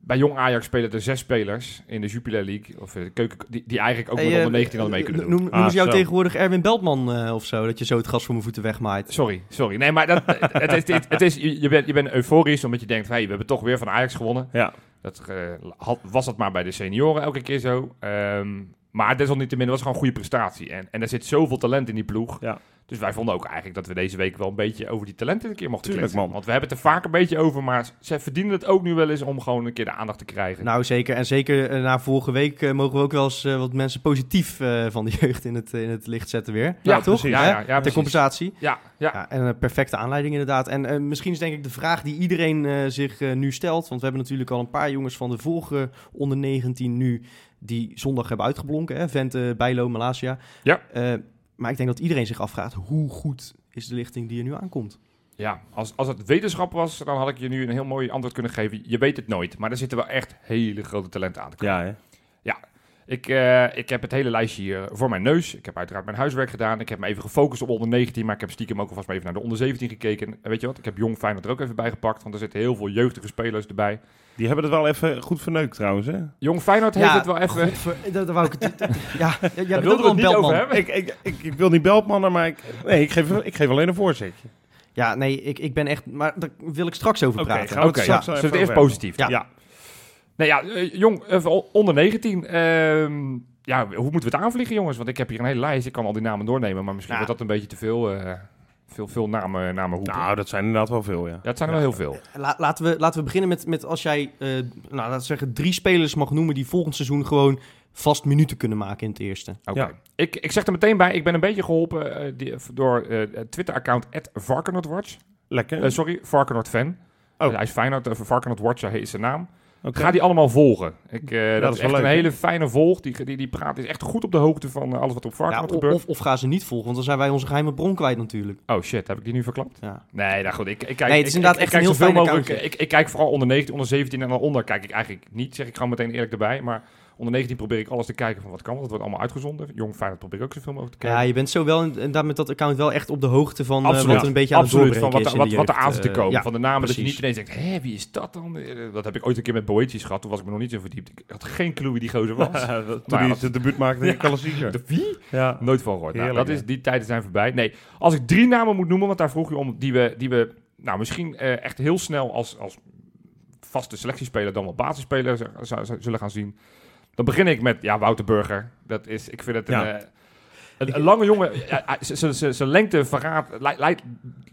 S3: Bij jong Ajax spelen er zes spelers in de Jupiler League, of eh, de keuken, die, die eigenlijk ook
S2: Hey,
S3: met
S2: eh,
S3: onder 19 hadden mee kunnen
S2: noem-
S3: doen.
S2: Noemen
S1: Ah,
S2: ze jou
S1: zo.
S2: tegenwoordig Erwin Beltman eh, of zo, dat je zo het gas voor mijn voeten wegmaait?
S3: Sorry, sorry. Nee, maar dat, het, is- het, het is, je, je bent, je bent euforisch omdat je denkt, hey, we hebben toch weer van Ajax gewonnen.
S1: Ja.
S3: Dat, eh, had, was dat maar bij de senioren elke keer zo. Ehm, maar desalniettemin was het gewoon een goede prestatie. En, en er zit zoveel talent in die ploeg.
S1: Ja.
S3: Dus wij vonden ook eigenlijk dat we deze week wel een beetje over die talenten een keer mochten
S1: Tuurlijk,
S3: kletsen.
S1: man.
S3: Want we hebben het er vaak een beetje over, maar ze verdienen het ook nu wel eens om gewoon een keer de aandacht te krijgen.
S2: Nou, zeker. En zeker eh, na vorige week eh, mogen we ook wel eens eh, wat mensen positief eh, van de jeugd in het, in het licht zetten weer.
S3: Ja,
S2: toch?
S1: precies.
S3: ja,
S2: Hè?
S3: ja, ja,
S2: Ter
S3: precies.
S2: compensatie.
S3: ja, ja.
S2: Ja, en een perfecte aanleiding inderdaad. En eh, misschien is denk ik de vraag die iedereen eh, zich eh, nu stelt. Want we hebben natuurlijk al een paar jongens van de vorige onder 19 nu die zondag hebben uitgeblonken. Hè? Vente, Bijlo, Malasia.
S3: Ja.
S2: Eh, maar ik denk dat iedereen zich afvraagt hoe goed is de lichting die er nu aankomt.
S3: Ja, als, als het wetenschap was, dan had ik je nu een heel mooi antwoord kunnen geven. Je weet het nooit, maar er zitten wel echt hele grote talenten aan te komen.
S1: Ja, hè?
S3: Ik, eh, ik heb het hele lijstje hier voor mijn neus. Ik heb uiteraard mijn huiswerk gedaan. Ik heb me even gefocust op onder 19, maar ik heb stiekem ook alvast maar even naar de onder 17 gekeken. En weet je wat, ik heb Jong Feyenoord er ook even bij gepakt, want er zitten heel veel jeugdige spelers erbij.
S1: Die hebben het wel even goed verneukt trouwens, hè?
S3: Jong Feyenoord heeft
S2: Ja,
S3: het wel even...
S2: Godver- eh, dat, dat wou ik het... ja, jij bent
S3: wilden
S2: ook
S3: we
S2: wel een
S3: het niet over
S2: beltman.
S3: hebben.
S1: Ik, ik, ik, ik wil niet beltmannen, maar ik, nee, ik, geef, ik geef alleen een voorzetje.
S2: Ja, nee, ik, ik ben echt... Maar daar wil ik straks over
S1: Oké,
S2: praten.
S1: gaan we
S3: Oké,
S1: het
S3: ja.
S1: straks
S3: zullen
S1: wel
S3: we
S1: even
S3: het eerst
S1: over
S2: Ja.
S3: positief?
S1: Ja.
S3: Nou ja, eh, jong, eh, onder 19. ehm, ja, hoe moeten we het aanvliegen, jongens? Want ik heb hier een hele lijst. Ik kan al die namen doornemen, maar misschien
S2: Ja.
S3: wordt dat een beetje te veel, eh, veel, veel namen, namen roepen.
S1: Nou, dat zijn inderdaad wel veel, ja.
S3: ja, het zijn er wel heel veel.
S2: La- laten, we, laten we beginnen met, met als jij, eh, nou, laten we zeggen, drie spelers mag noemen die volgend seizoen gewoon vast minuten kunnen maken in het eerste.
S3: Oké.
S1: Ja.
S3: Ik, ik zeg er meteen bij, ik ben een beetje geholpen eh, die- door eh, het Twitter-account @varkenoordwatch.
S1: Lekker.
S3: Eh, sorry, Varkenoord fan.
S1: Oh.
S3: hij is Feyenoord, uh, Varkenoord Watcher heet zijn naam.
S1: Oké.
S3: Ga die allemaal volgen. Ik, eh, dat,
S1: dat
S3: is
S1: is wel
S3: echt
S1: leuk,
S3: een
S1: hè?
S3: hele fijne volg. Die, die, die praat is echt goed op de hoogte van eh, alles wat op
S2: Ja,
S3: Varkenoord
S2: o-
S3: gebeurt.
S2: of, of gaan ze niet volgen, want dan zijn wij onze geheime bron kwijt natuurlijk.
S3: Oh shit, heb ik die nu verklapt?
S2: Ja.
S3: Nee, nou goed, ik, ik kijk,
S2: Nee, het is
S3: ik-
S2: inderdaad
S3: ik- ik
S2: echt een
S3: kijk
S2: heel
S3: zoveel
S2: fijn
S3: mogelijk. Ik, ik kijk vooral onder 19, onder 17 en daaronder kijk ik eigenlijk niet, zeg ik gewoon meteen eerlijk erbij. Maar onder 19 probeer ik alles te kijken van wat kan, want dat wordt allemaal uitgezonden. Jong Feyenoord probeer ik ook zoveel mogelijk te
S2: ja,
S3: kijken.
S2: je bent zo wel in- inderdaad met dat account wel echt op de hoogte van eh,
S3: Absoluut.
S2: wat er een beetje aan het
S3: Absoluut, van
S2: doorbreken
S3: wat,
S2: is in
S3: wat,
S2: de
S3: wat er
S2: jeugd.
S3: aan zit te
S2: Eh,
S3: komen.
S2: ja.
S3: van de namen, dat je niet
S2: precies.
S3: ineens denkt, hé, wie is dat dan? Eh, Dat heb ik ooit een keer met Boetjes gehad, toen was ik me nog niet zo verdiept. Ik had geen clue wie die gozer was.
S1: Toen
S3: Maar
S1: hij
S3: als-
S1: zijn debuut maakte in de klassieker.
S3: De wie?
S1: Ja.
S3: Nooit van gehoord. Nou,
S1: Heerlijk,
S3: dat is,
S1: hè?
S3: die tijden zijn voorbij. Nee, als ik drie namen moet noemen, want daar vroeg je om, die we, die we nou, misschien eh, echt heel snel als, als vaste selectiespeler dan wel basisspeler z- z- z- zullen gaan zien. Dan begin ik met ja, Wouter Burger. Dat is, ik vind het een,
S1: Ja.
S3: eh, een, een lange jongen. Ja, hij- z- z- z- Zijn lengte verraadt, lij- lijkt,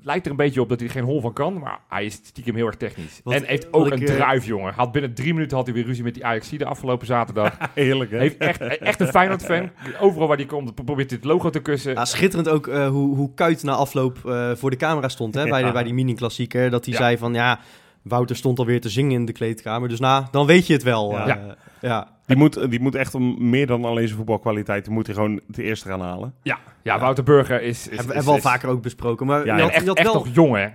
S3: lijkt er een beetje op dat hij er geen hol van kan, maar hij is stiekem heel erg technisch.
S2: Wat-
S3: en heeft
S2: wat
S3: ook
S2: ik,
S3: een
S2: eh,
S3: druif, jongen. Had binnen drie minuten had hij weer ruzie met die Ajax de afgelopen zaterdag.
S1: Heerlijk, hè?
S3: Heeft echt, echt een Feyenoord-fan. Overal waar die komt, pro- probeert dit logo te kussen.
S2: Ja, schitterend ook eh, hoe, hoe Kuit na afloop eh, voor de camera stond hè, bij, de,
S1: Ja.
S2: bij die mini-klassieker. Dat hij
S3: Ja.
S2: zei van, ja, Wouter stond alweer te zingen in de kleedkamer. Dus nou, dan weet je het wel.
S1: Ja.
S2: eh,
S3: Ja.
S2: ja.
S1: Die moet, die moet echt om meer dan alleen zijn voetbalkwaliteit, die moet hij gewoon het eerste gaan halen.
S3: Ja, ja, Wouter Burger is... is
S2: hebben
S3: is-
S2: hebben we
S3: is-
S2: al vaker ook besproken. Maar
S1: Ja,
S2: je
S3: En
S1: en
S2: had,
S3: echt,
S2: je had
S3: echt
S2: wel...
S3: nog jong, hè?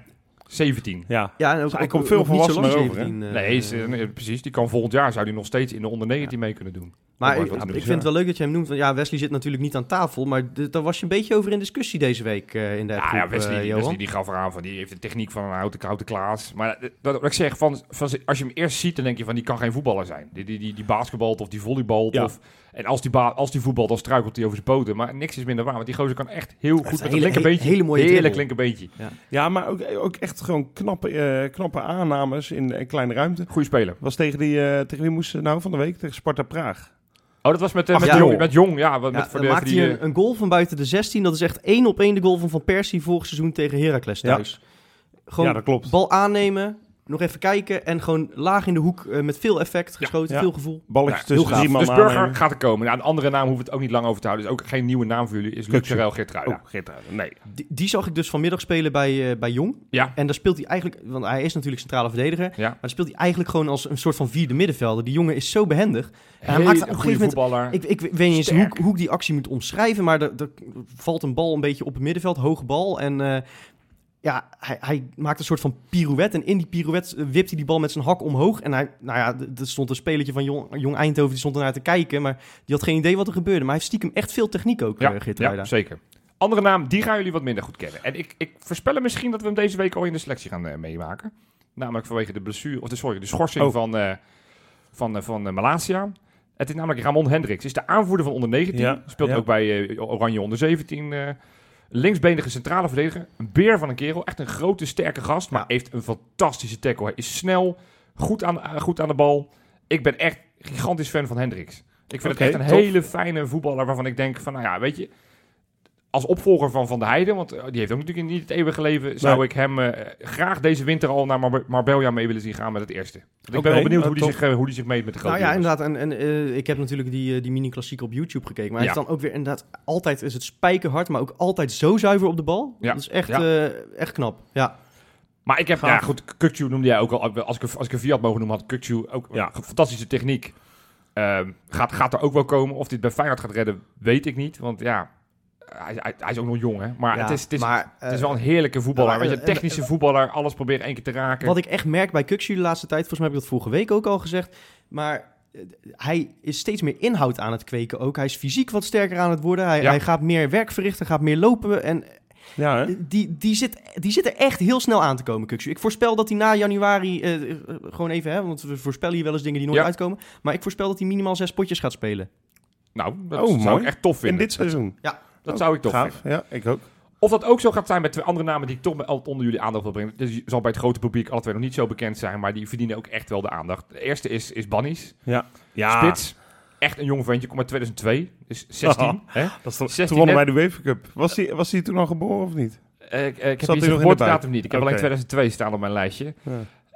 S3: 17.
S1: Ja.
S2: Ja, en ook,
S1: Dus hij
S2: ook-
S1: komt
S2: ook
S1: veel volwassener
S2: niet zo lang
S1: over, hè?
S2: 17, eh,
S3: nee, is, eh, nee, precies. Die kan volgend jaar, zou die nog steeds in de onder 19 mee kunnen doen.
S2: Maar
S3: wordt
S2: ik, ik
S3: wat te
S2: vind
S3: doen.
S2: het wel leuk dat je hem noemt. Want ja, Wesley zit natuurlijk niet aan tafel. Maar d- daar was je een beetje over in discussie deze week eh, in de
S3: Ja,
S2: appgroep,
S3: ja Wesley,
S2: eh, Johan.
S3: Wesley die gaf eraan van die heeft de techniek van een houten, houten Klaas. Maar dat, wat ik zeg, van, van, als je hem eerst ziet, dan denk je van die kan geen voetballer zijn. Die, die, die, die basketbalt of die volleybalt.
S1: Ja.
S3: Of, en als die, ba- als die voetbalt, dan struikelt hij over zijn poten. Maar niks is minder waar, want die gozer kan echt heel
S2: is een
S3: goed met een
S2: hele-
S3: linkerbeentje.
S2: hele mooie
S3: Heerlijk
S2: dribbel.
S3: linkerbeentje.
S1: Ja, maar ook, ook echt gewoon knappe, eh, knappe aannames in een kleine ruimte.
S3: Goeie speler.
S1: Was tegen, die, eh, tegen wie moest ze nou van de week? Tegen Sparta Praag.
S3: Oh, dat was met, eh,
S1: Ach,
S3: met,
S1: ja.
S3: Jong, met Jong. Ja, wat-
S2: Ja,
S3: met, voor
S2: dan
S3: de, voor
S2: maakt
S3: die,
S2: hij
S3: eh,
S2: een, een goal van buiten de 16. Dat is echt één op één de goal van Van Persie vorig seizoen tegen Heracles
S1: Ja.
S2: thuis. Gewoon
S1: ja, dat klopt.
S2: bal aannemen, nog even kijken en gewoon laag in de hoek eh, met veel effect geschoten,
S1: Ja.
S2: veel gevoel.
S1: Balletjes
S3: ja, heel
S1: tussen
S3: gaaf.
S1: drie man
S3: Dus Burger
S2: eh,
S1: aannemen.
S3: gaat er komen. Ja, een andere naam hoeven we het ook niet lang over te houden. Dus ook geen nieuwe naam voor jullie. Is
S1: Kukzu.
S3: Luxerel Geertruida.
S1: Oh, Geertruiden. Nee.
S2: Die, die zag ik dus vanmiddag spelen bij, eh, bij Jong.
S3: Ja.
S2: En daar speelt hij eigenlijk, want hij is natuurlijk centrale verdediger.
S3: Ja.
S2: Maar dan speelt hij eigenlijk gewoon als een soort van vierde middenvelder. Die jongen is zo behendig. hij
S3: Hele
S2: maakt op een
S3: goede
S2: gegeven moment-
S3: voetballer.
S2: Ik, ik weet niet eens hoe,
S3: Sterk.
S2: ik- hoe ik die actie moet omschrijven, maar er, er valt een bal een beetje op het middenveld, hoge bal. En eh, ja, hij, hij maakt een soort van pirouette. En in die pirouette eh, wipt hij die bal met zijn hak omhoog. En hij, nou ja, d- er stond een spelertje van Jong, Jong Eindhoven, die stond ernaar te kijken. Maar die had geen idee wat er gebeurde. Maar hij heeft stiekem echt veel techniek ook, ja, Geert
S3: ja,
S2: Ruida.
S3: zeker. Andere naam, die gaan jullie wat minder goed kennen. En ik, ik voorspel hem misschien dat we hem deze week al in de selectie gaan eh, meemaken. Namelijk vanwege de blessure, of de, sorry, de schorsing
S1: Oh.
S3: van, eh van, eh, van eh, Malasia. Het is namelijk Ramon Hendricks. Is de aanvoerder van onder 19.
S1: Ja,
S3: Speelt
S1: ja.
S3: ook bij eh, Oranje onder 17. eh, linksbenige centrale verdediger. Een beer van een kerel. Echt een grote, sterke gast. Maar
S2: Ja.
S3: heeft een fantastische tackle. Hij is snel, goed aan, eh, goed aan de bal. Ik ben echt gigantisch fan van Hendricks. Ik vind
S1: Oké,
S3: het echt een
S1: tof.
S3: hele fijne voetballer waarvan ik denk van, nou ja, weet je, als opvolger van Van der Heijden, want eh, die heeft ook natuurlijk niet het eeuwige leven, zou
S1: Nee.
S3: ik hem eh, graag deze winter al naar Mar- Marbella mee willen zien gaan met het eerste. Want ik
S1: Oké,
S3: ben wel benieuwd
S1: eh,
S3: hoe, die
S1: tof.
S3: zich, eh, hoe die zich meet met de grote
S2: Nou ja,
S3: jongens.
S2: inderdaad. En, en eh, ik heb natuurlijk die, eh, die mini-klassiek op YouTube gekeken. Maar hij
S3: Ja.
S2: is dan ook weer inderdaad altijd is het spijkerhard, maar ook altijd zo zuiver op de bal.
S3: Ja.
S2: Dat is echt,
S3: Ja.
S2: eh, echt knap. Ja.
S3: Maar ik heb,
S1: Gaaf.
S3: ja goed, Kukcu noemde jij ook al, als ik, een- als ik een Fiat mogen noemen, had Kukcu ook
S1: Ja.
S3: een fantastische techniek. Ehm, gaat, gaat er ook wel komen, of dit bij Feyenoord gaat redden, weet ik niet, want ja, hij, hij, hij is ook nog jong hè, maar
S2: Ja,
S3: het is... Het is
S2: maar,
S3: het is
S2: eh,
S3: wel een heerlijke voetballer.
S2: nou,
S3: Weet je,
S1: eh,
S3: een
S2: en-
S3: technische voetballer. Alles proberen één keer te raken.
S2: Wat ik echt merk bij Kuxu de laatste tijd, volgens mij heb ik dat vorige week ook al gezegd, maar eh, hij is steeds meer inhoud aan het kweken ook. Hij is fysiek wat sterker aan het worden. Hij,
S3: Ja.
S2: hij gaat meer werk verrichten, gaat meer lopen. En
S1: Ja, hè?
S2: eh, die, die, zit, die zit er echt heel snel aan te komen, Kuxu. Ik voorspel dat hij na januari, eh, eh, gewoon even, hè, want we voorspellen hier wel eens dingen die nooit
S3: Ja.
S2: uitkomen, maar ik voorspel dat hij minimaal zes potjes gaat spelen.
S3: Nou, dat
S1: Oh,
S3: zou
S1: mooi.
S3: ik echt tof
S1: In
S3: vinden.
S1: dit seizoen.
S3: Dat zou ik tof vinden.
S1: Gaaf. Ja, ik ook.
S3: Of dat ook zo gaat zijn met twee andere namen die ik toch bij- altijd onder jullie aandacht wil brengen. Dus die zal bij het grote publiek alle twee nog niet zo bekend zijn, maar die verdienen ook echt wel de aandacht. De eerste is, is Bannies.
S1: Ja,
S3: Spits. Echt een jong ventje, komt uit 2002. Dus 16.
S1: Haha.
S3: Hè?
S1: Dat is toch,
S3: 16
S1: toen wonnen
S3: net-
S1: wij de UEFA Cup. Was die, was die toen al geboren of niet?
S3: Eh, ik- eh, ik heb
S1: hij
S3: hier
S1: nog in
S3: zijn
S1: de
S3: geboortedatum
S1: buik?
S3: niet. Ik heb
S1: Oké.
S3: alleen 2002 staan op mijn lijstje.
S1: Ja.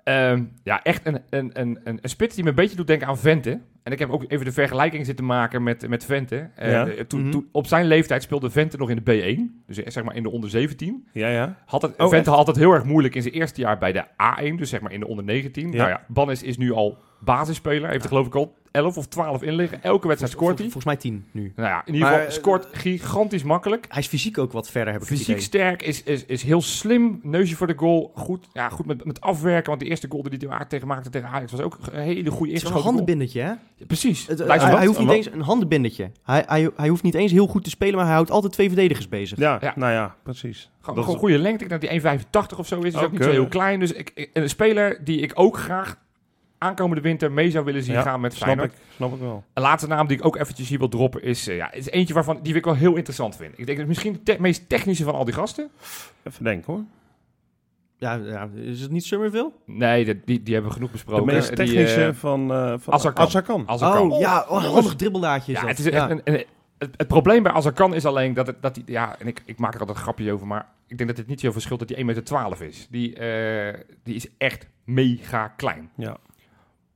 S3: Ehm, ja, echt een, een, een, een, een spits die me een beetje doet denken aan Vente. En ik heb ook even de vergelijking zitten maken met, met Vente. Eh,
S1: Ja.
S3: eh, toen,
S2: Mhm.
S3: toen, op zijn leeftijd speelde Vente nog in de B1. Dus eh, zeg maar in de onder 17.
S1: Ja, ja.
S3: Had het,
S1: Oh,
S3: Vente had het heel erg moeilijk in zijn eerste jaar bij de A1, dus zeg maar in de onder 19.
S1: Ja.
S3: Nou ja, Bannis is nu al basisspeler. Heeft er geloof ik al 11 of 12 in liggen. Elke wedstrijd scoort hij.
S2: Volgens mij tien nu.
S3: Nou ja, in ieder
S2: Maar,
S3: geval scoort gigantisch makkelijk.
S2: Hij is fysiek ook wat verder, heb ik het
S3: Fysiek
S2: idee.
S3: sterk, is, is, is heel slim. Neusje voor de goal. Goed, ja, goed met, met afwerken. Want de eerste goal die hij tegen maakte tegen Ajax was ook een hele goede
S2: Het is
S3: eerste
S2: wel een handenbindetje, hè?
S3: Precies.
S2: Het- eh,
S3: Lijkt
S2: hij,
S3: wel.
S2: hij hoeft niet
S1: Wat?
S2: eens een handenbindetje. Hij, hij, hij hoeft niet eens heel goed te spelen, maar hij houdt altijd twee verdedigers bezig.
S1: Ja,
S3: Ja.
S1: nou ja, precies.
S3: Gewoon,
S1: Dat
S3: gewoon
S1: is-
S3: goede lengte. Ik denk dat die 1,85 of zo is. Is ook niet
S1: Oké.
S3: zo heel klein. Dus ik, ik- een speler die ik ook graag aankomende winter mee zou willen zien
S1: Ja,
S3: gaan met
S1: snap
S3: Feyenoord.
S1: ik, snap ik wel.
S3: Een laatste naam die ik ook eventjes hier wil droppen is, eh, ja, is eentje waarvan die ik wel heel interessant vind. Ik denk dat misschien de te- meest technische van al die gasten.
S1: Even denken hoor.
S2: Ja, ja, is het niet Summerville?
S3: Nee, de- die, die hebben we genoeg
S1: De
S3: besproken.
S1: meest
S3: Die,
S1: technische
S3: eh,
S1: van, eh van
S3: Azarkan.
S1: Azarkan.
S3: als ik
S2: Oh,
S3: kan.
S2: ja, oh, een handig dribbeldaadje is
S3: Ja,
S2: dat.
S3: het is echt
S2: Ja.
S3: een, een- het, het probleem bij Azarkan is alleen dat, het, dat die, ja, en ik, ik maak er altijd een grapje over, maar ik denk dat het niet zoveel verschilt dat die 1,12 meter is. Die, eh, die is echt mega klein.
S1: Ja.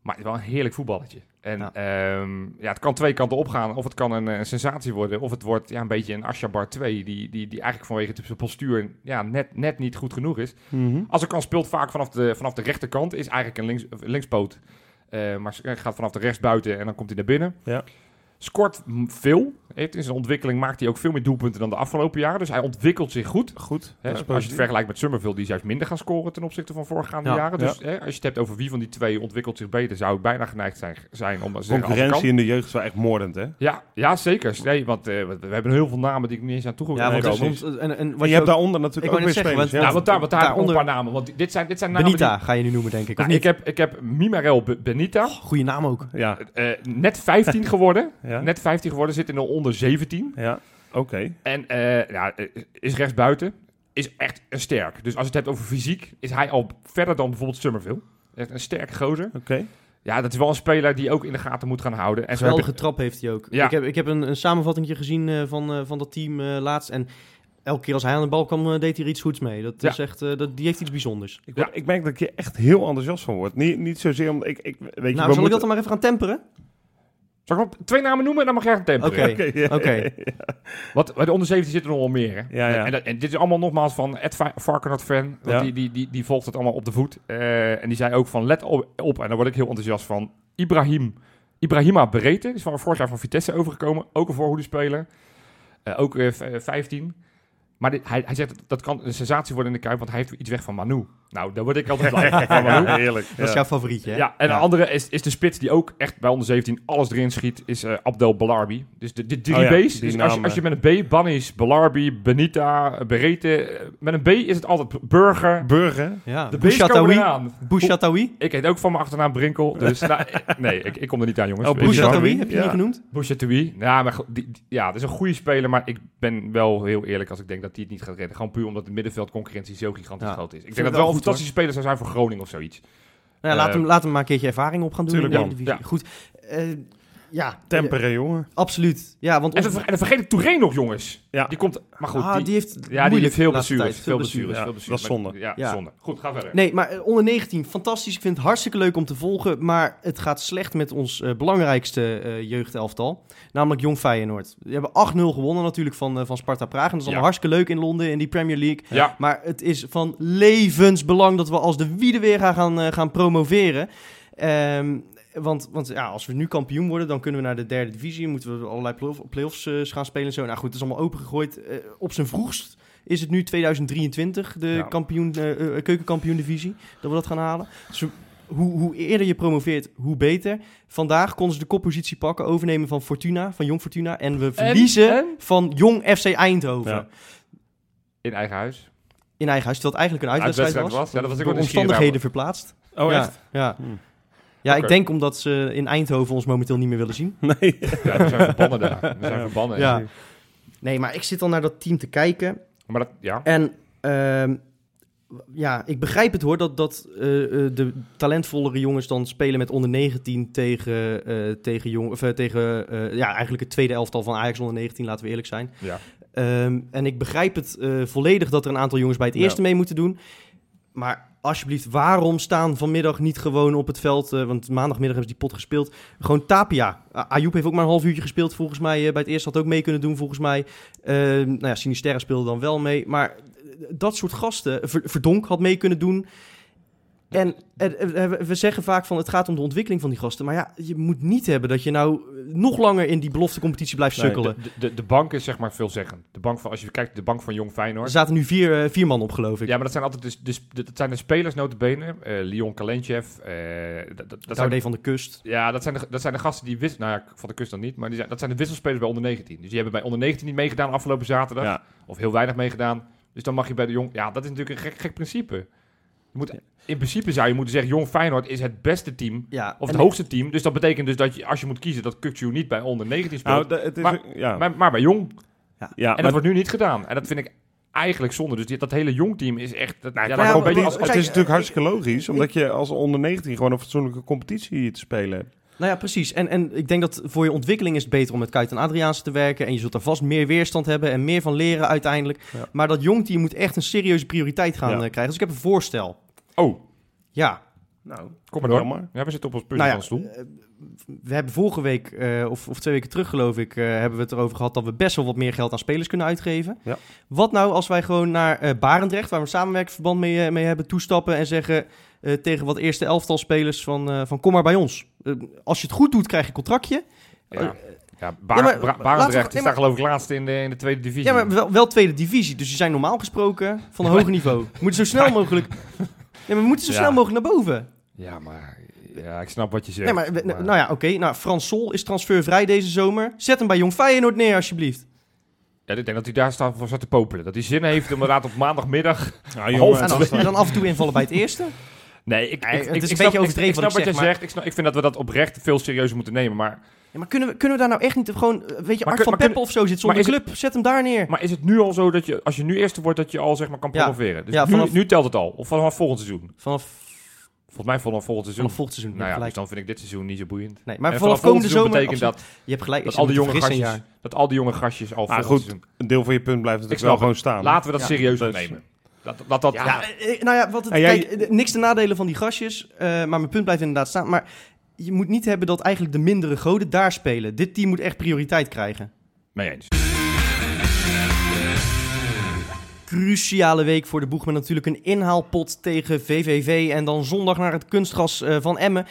S3: Maar het is wel een heerlijk voetballetje. En
S2: Ja.
S3: ehm, ja, het kan twee kanten opgaan. Of het kan een, eh, sensatie worden. Of het wordt ja, een beetje een Ashabar 2. Die, die, die eigenlijk vanwege het- zijn postuur ja, net, net niet goed genoeg is.
S1: Mhm.
S3: Als ik kan speelt vaak vanaf de, vanaf de rechterkant. Is eigenlijk een links, of linkspoot. Eh, maar s- eh, gaat vanaf de rechts buiten en dan komt hij naar binnen.
S1: Ja.
S3: Scoort m- veel. heeft in zijn ontwikkeling maakt hij ook veel meer doelpunten dan de afgelopen jaren. Dus hij ontwikkelt zich goed.
S1: Goed. Nou, dat is
S3: Hè, als je het
S1: positief.
S3: vergelijkt met Summerville, die is juist minder gaan scoren ten opzichte van voorgaande
S2: Ja,
S3: jaren. Dus hè, als je het hebt over wie van die twee ontwikkelt zich beter, zou ik bijna geneigd zijn, zijn om te zeggen
S1: Concurrentie
S3: Azarkan.
S1: in de jeugd is wel echt moordend, hè?
S3: Ja, ja, zeker. Nee, want eh, we we hebben heel veel namen die ik niet eens aan toe
S2: Ja, want
S1: nee,
S2: er
S1: precies.
S2: stond- en, en wat
S1: Maar je
S2: je
S1: hebt
S2: ook-
S1: daaronder natuurlijk
S2: ik
S1: ook
S2: wou
S1: weer
S2: net zeggen,
S1: spelers.
S2: want-
S1: ja.
S3: Nou, want daar, want daar
S2: Daaronder-
S3: ook een paar namen. Want dit zijn, dit zijn namen die-
S2: Benita ga je nu noemen, denk ik.
S3: Nou,
S2: of
S3: ik,
S2: niet? Oh.
S3: heb, ik heb Mimarel Be- Benita,
S2: Goede naam ook.
S1: Ja,
S3: eh, net 15 geworden.
S1: ja,
S3: Net 15 geworden, zit in de onder 17.
S1: ja. oké.
S3: En eh, ja, eh, is rechtsbuiten. Is echt een sterk. Dus als je het hebt over fysiek, is hij al verder dan bijvoorbeeld Summerville. Echt een sterke gozer.
S1: Oké.
S3: Ja, dat is wel een speler die je ook in de gaten moet gaan houden. En zo heb
S2: Geweldige trap heeft hij ook.
S3: Ja.
S2: Ik heb, ik heb een, een samenvatting gezien eh, van, eh, van dat team eh, laatst. En elke keer als hij aan de bal kwam, eh, deed hij er iets goeds mee. Dat
S3: Ja.
S2: is echt, eh, dat, die heeft iets bijzonders.
S1: Ik, word- ik merk dat ik je echt heel enthousiast van wordt. Niet, niet zozeer omdat ik, ik weet je,
S2: nou, zal
S1: we
S2: ik dat
S1: moeten-
S2: dan maar even gaan temperen?
S3: ik- Zal ik nog twee namen noemen en dan mag jij een tempo
S2: Oké.
S3: in?
S1: Oké, ja.
S2: Oké.
S3: Want bij de onder 17 zitten er nog wel meer. Hè?
S1: Ja, ja.
S3: En, dat- en dit is allemaal nogmaals van Ed Va- Varkenat fan. Want
S1: Ja.
S3: die, die, die, die volgt het allemaal op de voet. Eh, en die zei ook van let op, op, en daar word ik heel enthousiast van. Ibrahim, Ibrahima Berete is van vorig jaar van Vitesse overgekomen. Ook een voorhoedespeler. Eh, ook eh, v- eh, 15. Maar dit- hij, hij zegt dat, dat kan een sensatie worden in de Kuip, want hij heeft iets weg van Manu. Nou, daar word ik altijd blij van. van Manu.
S1: Ja, heerlijk.
S2: Dat is
S1: ja.
S2: jouw favorietje, hè?
S3: Ja, en
S1: Ja.
S3: de andere is, is de spits die ook echt bij onder 17 alles erin schiet, is eh, Abdel Belarbi. Dus de, de drie
S1: Oh ja, die
S3: B's. Dus als je,
S1: namen.
S3: als je met een B, Bannis, Belarbi, Benita, eh, Berete. eh, Met een B is het altijd Burger.
S1: Burger.
S2: Ja.
S3: De B's komen
S2: Bouchatawi.
S3: eraan.
S2: Bouchatawi.
S3: Ik heet ook van mijn achternaam Brinkel. Dus nou, eh, nee, ik, ik kom er niet aan, jongens.
S1: Oh,
S3: Weet je wel.
S2: Bouchatawi, heb je die
S1: Ja.
S2: genoemd? Nou
S3: Bouchatoui. Ja, maar go- die, die- ja, dat is een goede speler, maar ik ben wel heel eerlijk als ik denk dat die het niet gaat redden. Gewoon puur omdat de middenveldconcurrentie zo gigantisch
S2: Ja.
S3: groot is. Ik
S2: Vind
S3: denk
S2: ik
S3: dat wel
S2: wel
S3: een
S2: goed,
S3: fantastische speler zou zijn voor Groningen of zoiets.
S2: Nou, ja, laat,
S3: Eh,
S2: hem, laat hem maar een keertje ervaring op gaan doen.
S1: tuurlijk,
S2: in de
S1: man.
S2: Eredivisie. Goed. Eh, ja.
S1: Temperen, jongen.
S2: Ja, absoluut. Ja, want
S3: En
S2: onze-
S3: dan, ver- en dan vergeet ik Touré nog, jongens.
S1: Ja.
S3: Die komt... Maar goed,
S2: Ah, die, heeft het
S3: Ja, die
S2: moeilijk
S3: heeft veel
S2: de laatste
S3: blessures.
S2: tijd.
S3: Veel blessures.
S1: Ja,
S3: veel blessures.
S1: dat is zonde.
S3: Maar- Ja,
S2: Ja.
S3: zonde. Goed, ga verder.
S2: Nee, maar eh, onder 19, fantastisch. Ik vind het hartstikke leuk om te volgen. Maar het gaat slecht met ons eh, belangrijkste eh, jeugdelftal. Namelijk Jong Feyenoord. Die hebben 8-0 gewonnen natuurlijk van, eh, van Sparta Praag. En dat is allemaal
S3: Ja.
S2: hartstikke leuk in Londen, in die Premier League.
S3: Ja.
S2: Maar het is van levensbelang dat we als de wieden weer gaan- gaan, eh, gaan promoveren. Ehm, want want ja, als we nu kampioen worden, dan kunnen we naar de derde divisie. Moeten we allerlei play-off- playoffs eh, gaan spelen en zo. Nou goed, het is allemaal opengegooid. Eh, op zijn vroegst is het nu 2023, de
S3: Ja.
S2: kampioen, eh, eh, keukenkampioen-divisie, dat we dat gaan halen. Dus hoe, hoe eerder je promoveert, hoe beter. Vandaag konden ze de koppositie pakken, overnemen van Fortuna, van Jong Fortuna. En we verliezen
S1: ehm,
S3: en?
S2: van Jong FC Eindhoven.
S1: Ja.
S3: In eigen huis.
S2: In eigen huis, terwijl het eigenlijk een uitwedstrijd was.
S3: Uitwedstrijd was. Ja, dat was ik
S2: door
S3: ook nieuwsgierig
S2: omstandigheden verplaatst.
S1: Oh,
S2: ja,
S1: echt?
S2: Ja,
S1: Hm.
S2: ja
S3: Oké.
S2: ik denk omdat ze in Eindhoven ons momenteel niet meer willen zien.
S1: Nee.
S3: Ja, we zijn verbannen daar. We zijn verbannen.
S2: Ja. Nee, maar ik zit al naar dat team te kijken.
S3: Maar dat... Ja.
S2: En ehm, ja, ik begrijp het hoor, dat, dat eh, eh, de talentvollere jongens dan spelen met onder 19 tegen, eh, tegen, jong, of, eh, tegen eh, ja, eigenlijk het tweede elftal van Ajax onder 19, laten we eerlijk zijn.
S3: Ja.
S2: Ehm, en ik begrijp het eh, volledig dat er een aantal jongens bij het
S1: Ja.
S2: eerste mee moeten doen. Maar alsjeblieft, waarom staan vanmiddag niet gewoon op het veld? eh, want maandagmiddag hebben ze die pot gespeeld. Gewoon Tapia. A- Ayoub heeft ook maar een half uurtje gespeeld volgens mij. eh, bij het eerste had ook mee kunnen doen volgens mij. Eh, nou ja, Sinisterra speelde dan wel mee. Maar eh, dat soort gasten. eh, Ver- Verdonk had mee kunnen doen. En eh, eh, we- we zeggen vaak van het gaat om de ontwikkeling van die gasten. Maar ja, je moet niet hebben dat je nou eh, nog langer in die beloftecompetitie blijft
S1: Nee,
S2: sukkelen.
S3: De, de, de bank is zeg maar veelzeggend. De bank van, als je kijkt, de bank van Jong Feyenoord.
S2: Er zaten nu vier, eh, vier man op, geloof ik.
S3: Ja, maar dat zijn altijd dus, dus, dat zijn de spelers notabene. Eh Leon Kalentjev. eh, dat- dat, dat,
S2: dat
S3: zijn,
S2: van de kust.
S3: ja, dat zijn, de, dat zijn de gasten die wisselen. Nou ja, van de kust dan niet. Maar die zijn, dat zijn de wisselspelers bij onder 19. Dus die hebben bij onder 19 niet meegedaan afgelopen zaterdag.
S1: Ja.
S3: Of heel weinig meegedaan. Dus dan mag je bij de jong... Ja, dat is natuurlijk een gek, gek principe. Je moet, in principe zou je moeten zeggen... Jong Feyenoord is het beste team.
S2: Ja,
S3: Of
S2: en-
S3: het hoogste team. Dus dat betekent dus dat je, als je moet kiezen... dat Kukju niet bij onder 19 speelt.
S1: Nou, dat- het is...
S3: Maar-
S1: ja.
S3: maar, maar bij Jong. En
S1: ja,
S3: dat
S1: maar
S3: wordt nu niet gedaan. En dat vind ik eigenlijk zonde. Dus dit- dat hele Jong team is echt... Dat, ja,
S1: Ja,
S3: dat
S2: maar
S3: is wel een
S2: die-
S3: beetje als,
S1: Nou,
S3: als-
S1: het
S2: kijk,
S1: is natuurlijk hartstikke logisch, omdat je als onder 19 gewoon een fatsoenlijke competitie te spelen hebt.
S2: Nou ja, precies. En, en ik denk dat voor je ontwikkeling is het beter om met Kuit en Adriaanse te werken. En je zult daar vast meer weerstand hebben en meer van leren uiteindelijk.
S1: Ja.
S2: Maar dat jong team moet echt een serieuze prioriteit gaan
S1: Ja.
S2: eh, krijgen. Dus ik heb een voorstel.
S3: Oh,
S2: Ja,
S1: Nou,
S3: kom maar door.
S1: Jammer.
S3: Ja, we zitten op ons puntje
S2: nou ja,
S3: van de stoel.
S2: eh, we hebben vorige week, eh, of, of twee weken terug geloof ik, eh, hebben we het erover gehad dat we best wel wat meer geld aan spelers kunnen uitgeven.
S1: Ja.
S2: Wat nou als wij gewoon naar eh, Barendrecht, waar we een samenwerkingsverband mee, eh, mee hebben, toestappen en zeggen eh, tegen wat eerste elftal spelers van, eh, van kom maar bij ons. Eh, als je het goed doet, krijg je een contractje.
S3: Ja. Ja,
S2: Ja, maar-
S3: Barendrecht Bra-
S2: laten we-
S3: Barendrecht
S2: nee,
S3: die staat geloof ik laatst in de, in de tweede divisie.
S2: Ja, maar wel, wel tweede divisie. Dus die zijn normaal gesproken van een hoger niveau. We moeten zo snel mogelijk... Ja, maar we moeten zo
S3: Ja.
S2: snel mogelijk naar boven.
S3: Ja, maar ja, ik snap wat je zegt.
S2: Nee, maar, we- Nou ja, oké. Nou, Frans Sol is transfervrij deze zomer. Zet hem bij Jong Feyenoord neer, alsjeblieft.
S3: Ja, ik denk dat hij daar staat voor staat te popelen. Dat hij zin heeft om inderdaad op maandagmiddag...
S1: Ja,
S2: En
S1: jongen,
S3: Half
S1: het
S2: Nou, dan,
S1: was-
S2: en dan af en toe invallen bij het eerste.
S3: Nee, ik,
S2: Nee,
S3: ik,
S2: het
S3: ik-
S2: is
S3: ik
S2: een
S3: snap-
S2: beetje overdreven
S3: ik,
S2: wat
S3: ik
S2: ik zeg,
S3: snap wat je
S2: maar-
S3: zegt. Ik, snap- ik vind dat we dat oprecht veel serieuzer moeten nemen. Maar,
S2: Ja, maar kunnen we, kunnen we daar nou echt niet gewoon... eh, Weet je, Art
S3: Maar kun-
S2: van
S3: maar
S2: Peppen of zo zit zonder
S3: maar is
S2: club. Zet hem daar neer.
S3: maar is het nu al zo dat je, als je nu eerste wordt, dat je al zeg maar kan
S2: Ja.
S3: promoveren? Dus
S2: Ja,
S3: nu,
S2: vanaf-
S3: nu telt het al. Of vanaf volgend seizoen.
S2: Vanaf,
S3: Volgens mij vanaf volgend seizoen.
S2: vanaf volgend seizoen.
S3: nou ja,
S2: gelijk.
S3: dus dan vind ik dit seizoen niet zo boeiend.
S2: nee, maar vanaf
S3: En volgend
S2: komende
S3: seizoen
S2: zomer...
S3: betekent
S2: absoluut.
S3: dat,
S2: je hebt gelijk. ik
S3: dat,
S2: zit
S3: al die
S2: met
S3: jonge
S2: vergissing,
S3: gastjes,
S2: ja.
S3: dat al die jonge gastjes al volgend
S1: goed,
S3: seizoen.
S1: een deel van je punt blijft natuurlijk
S3: snap
S1: wel
S3: het.
S1: gewoon staan.
S3: Laten we dat
S2: Ja.
S3: serieus
S1: Dus-
S3: nemen. Laat, laat dat...
S2: Ja, eh, nou ja, wat het,
S1: En jij-
S2: kijk, eh, niks te nadelen van die gastjes, eh, maar mijn punt blijft inderdaad staan. Maar je moet niet hebben dat eigenlijk de mindere goden daar spelen. Dit team moet echt prioriteit krijgen.
S3: Mee eens.
S2: Cruciale week voor de boeg met natuurlijk een inhaalpot tegen VVV en dan zondag naar het kunstgras eh, van Emmen.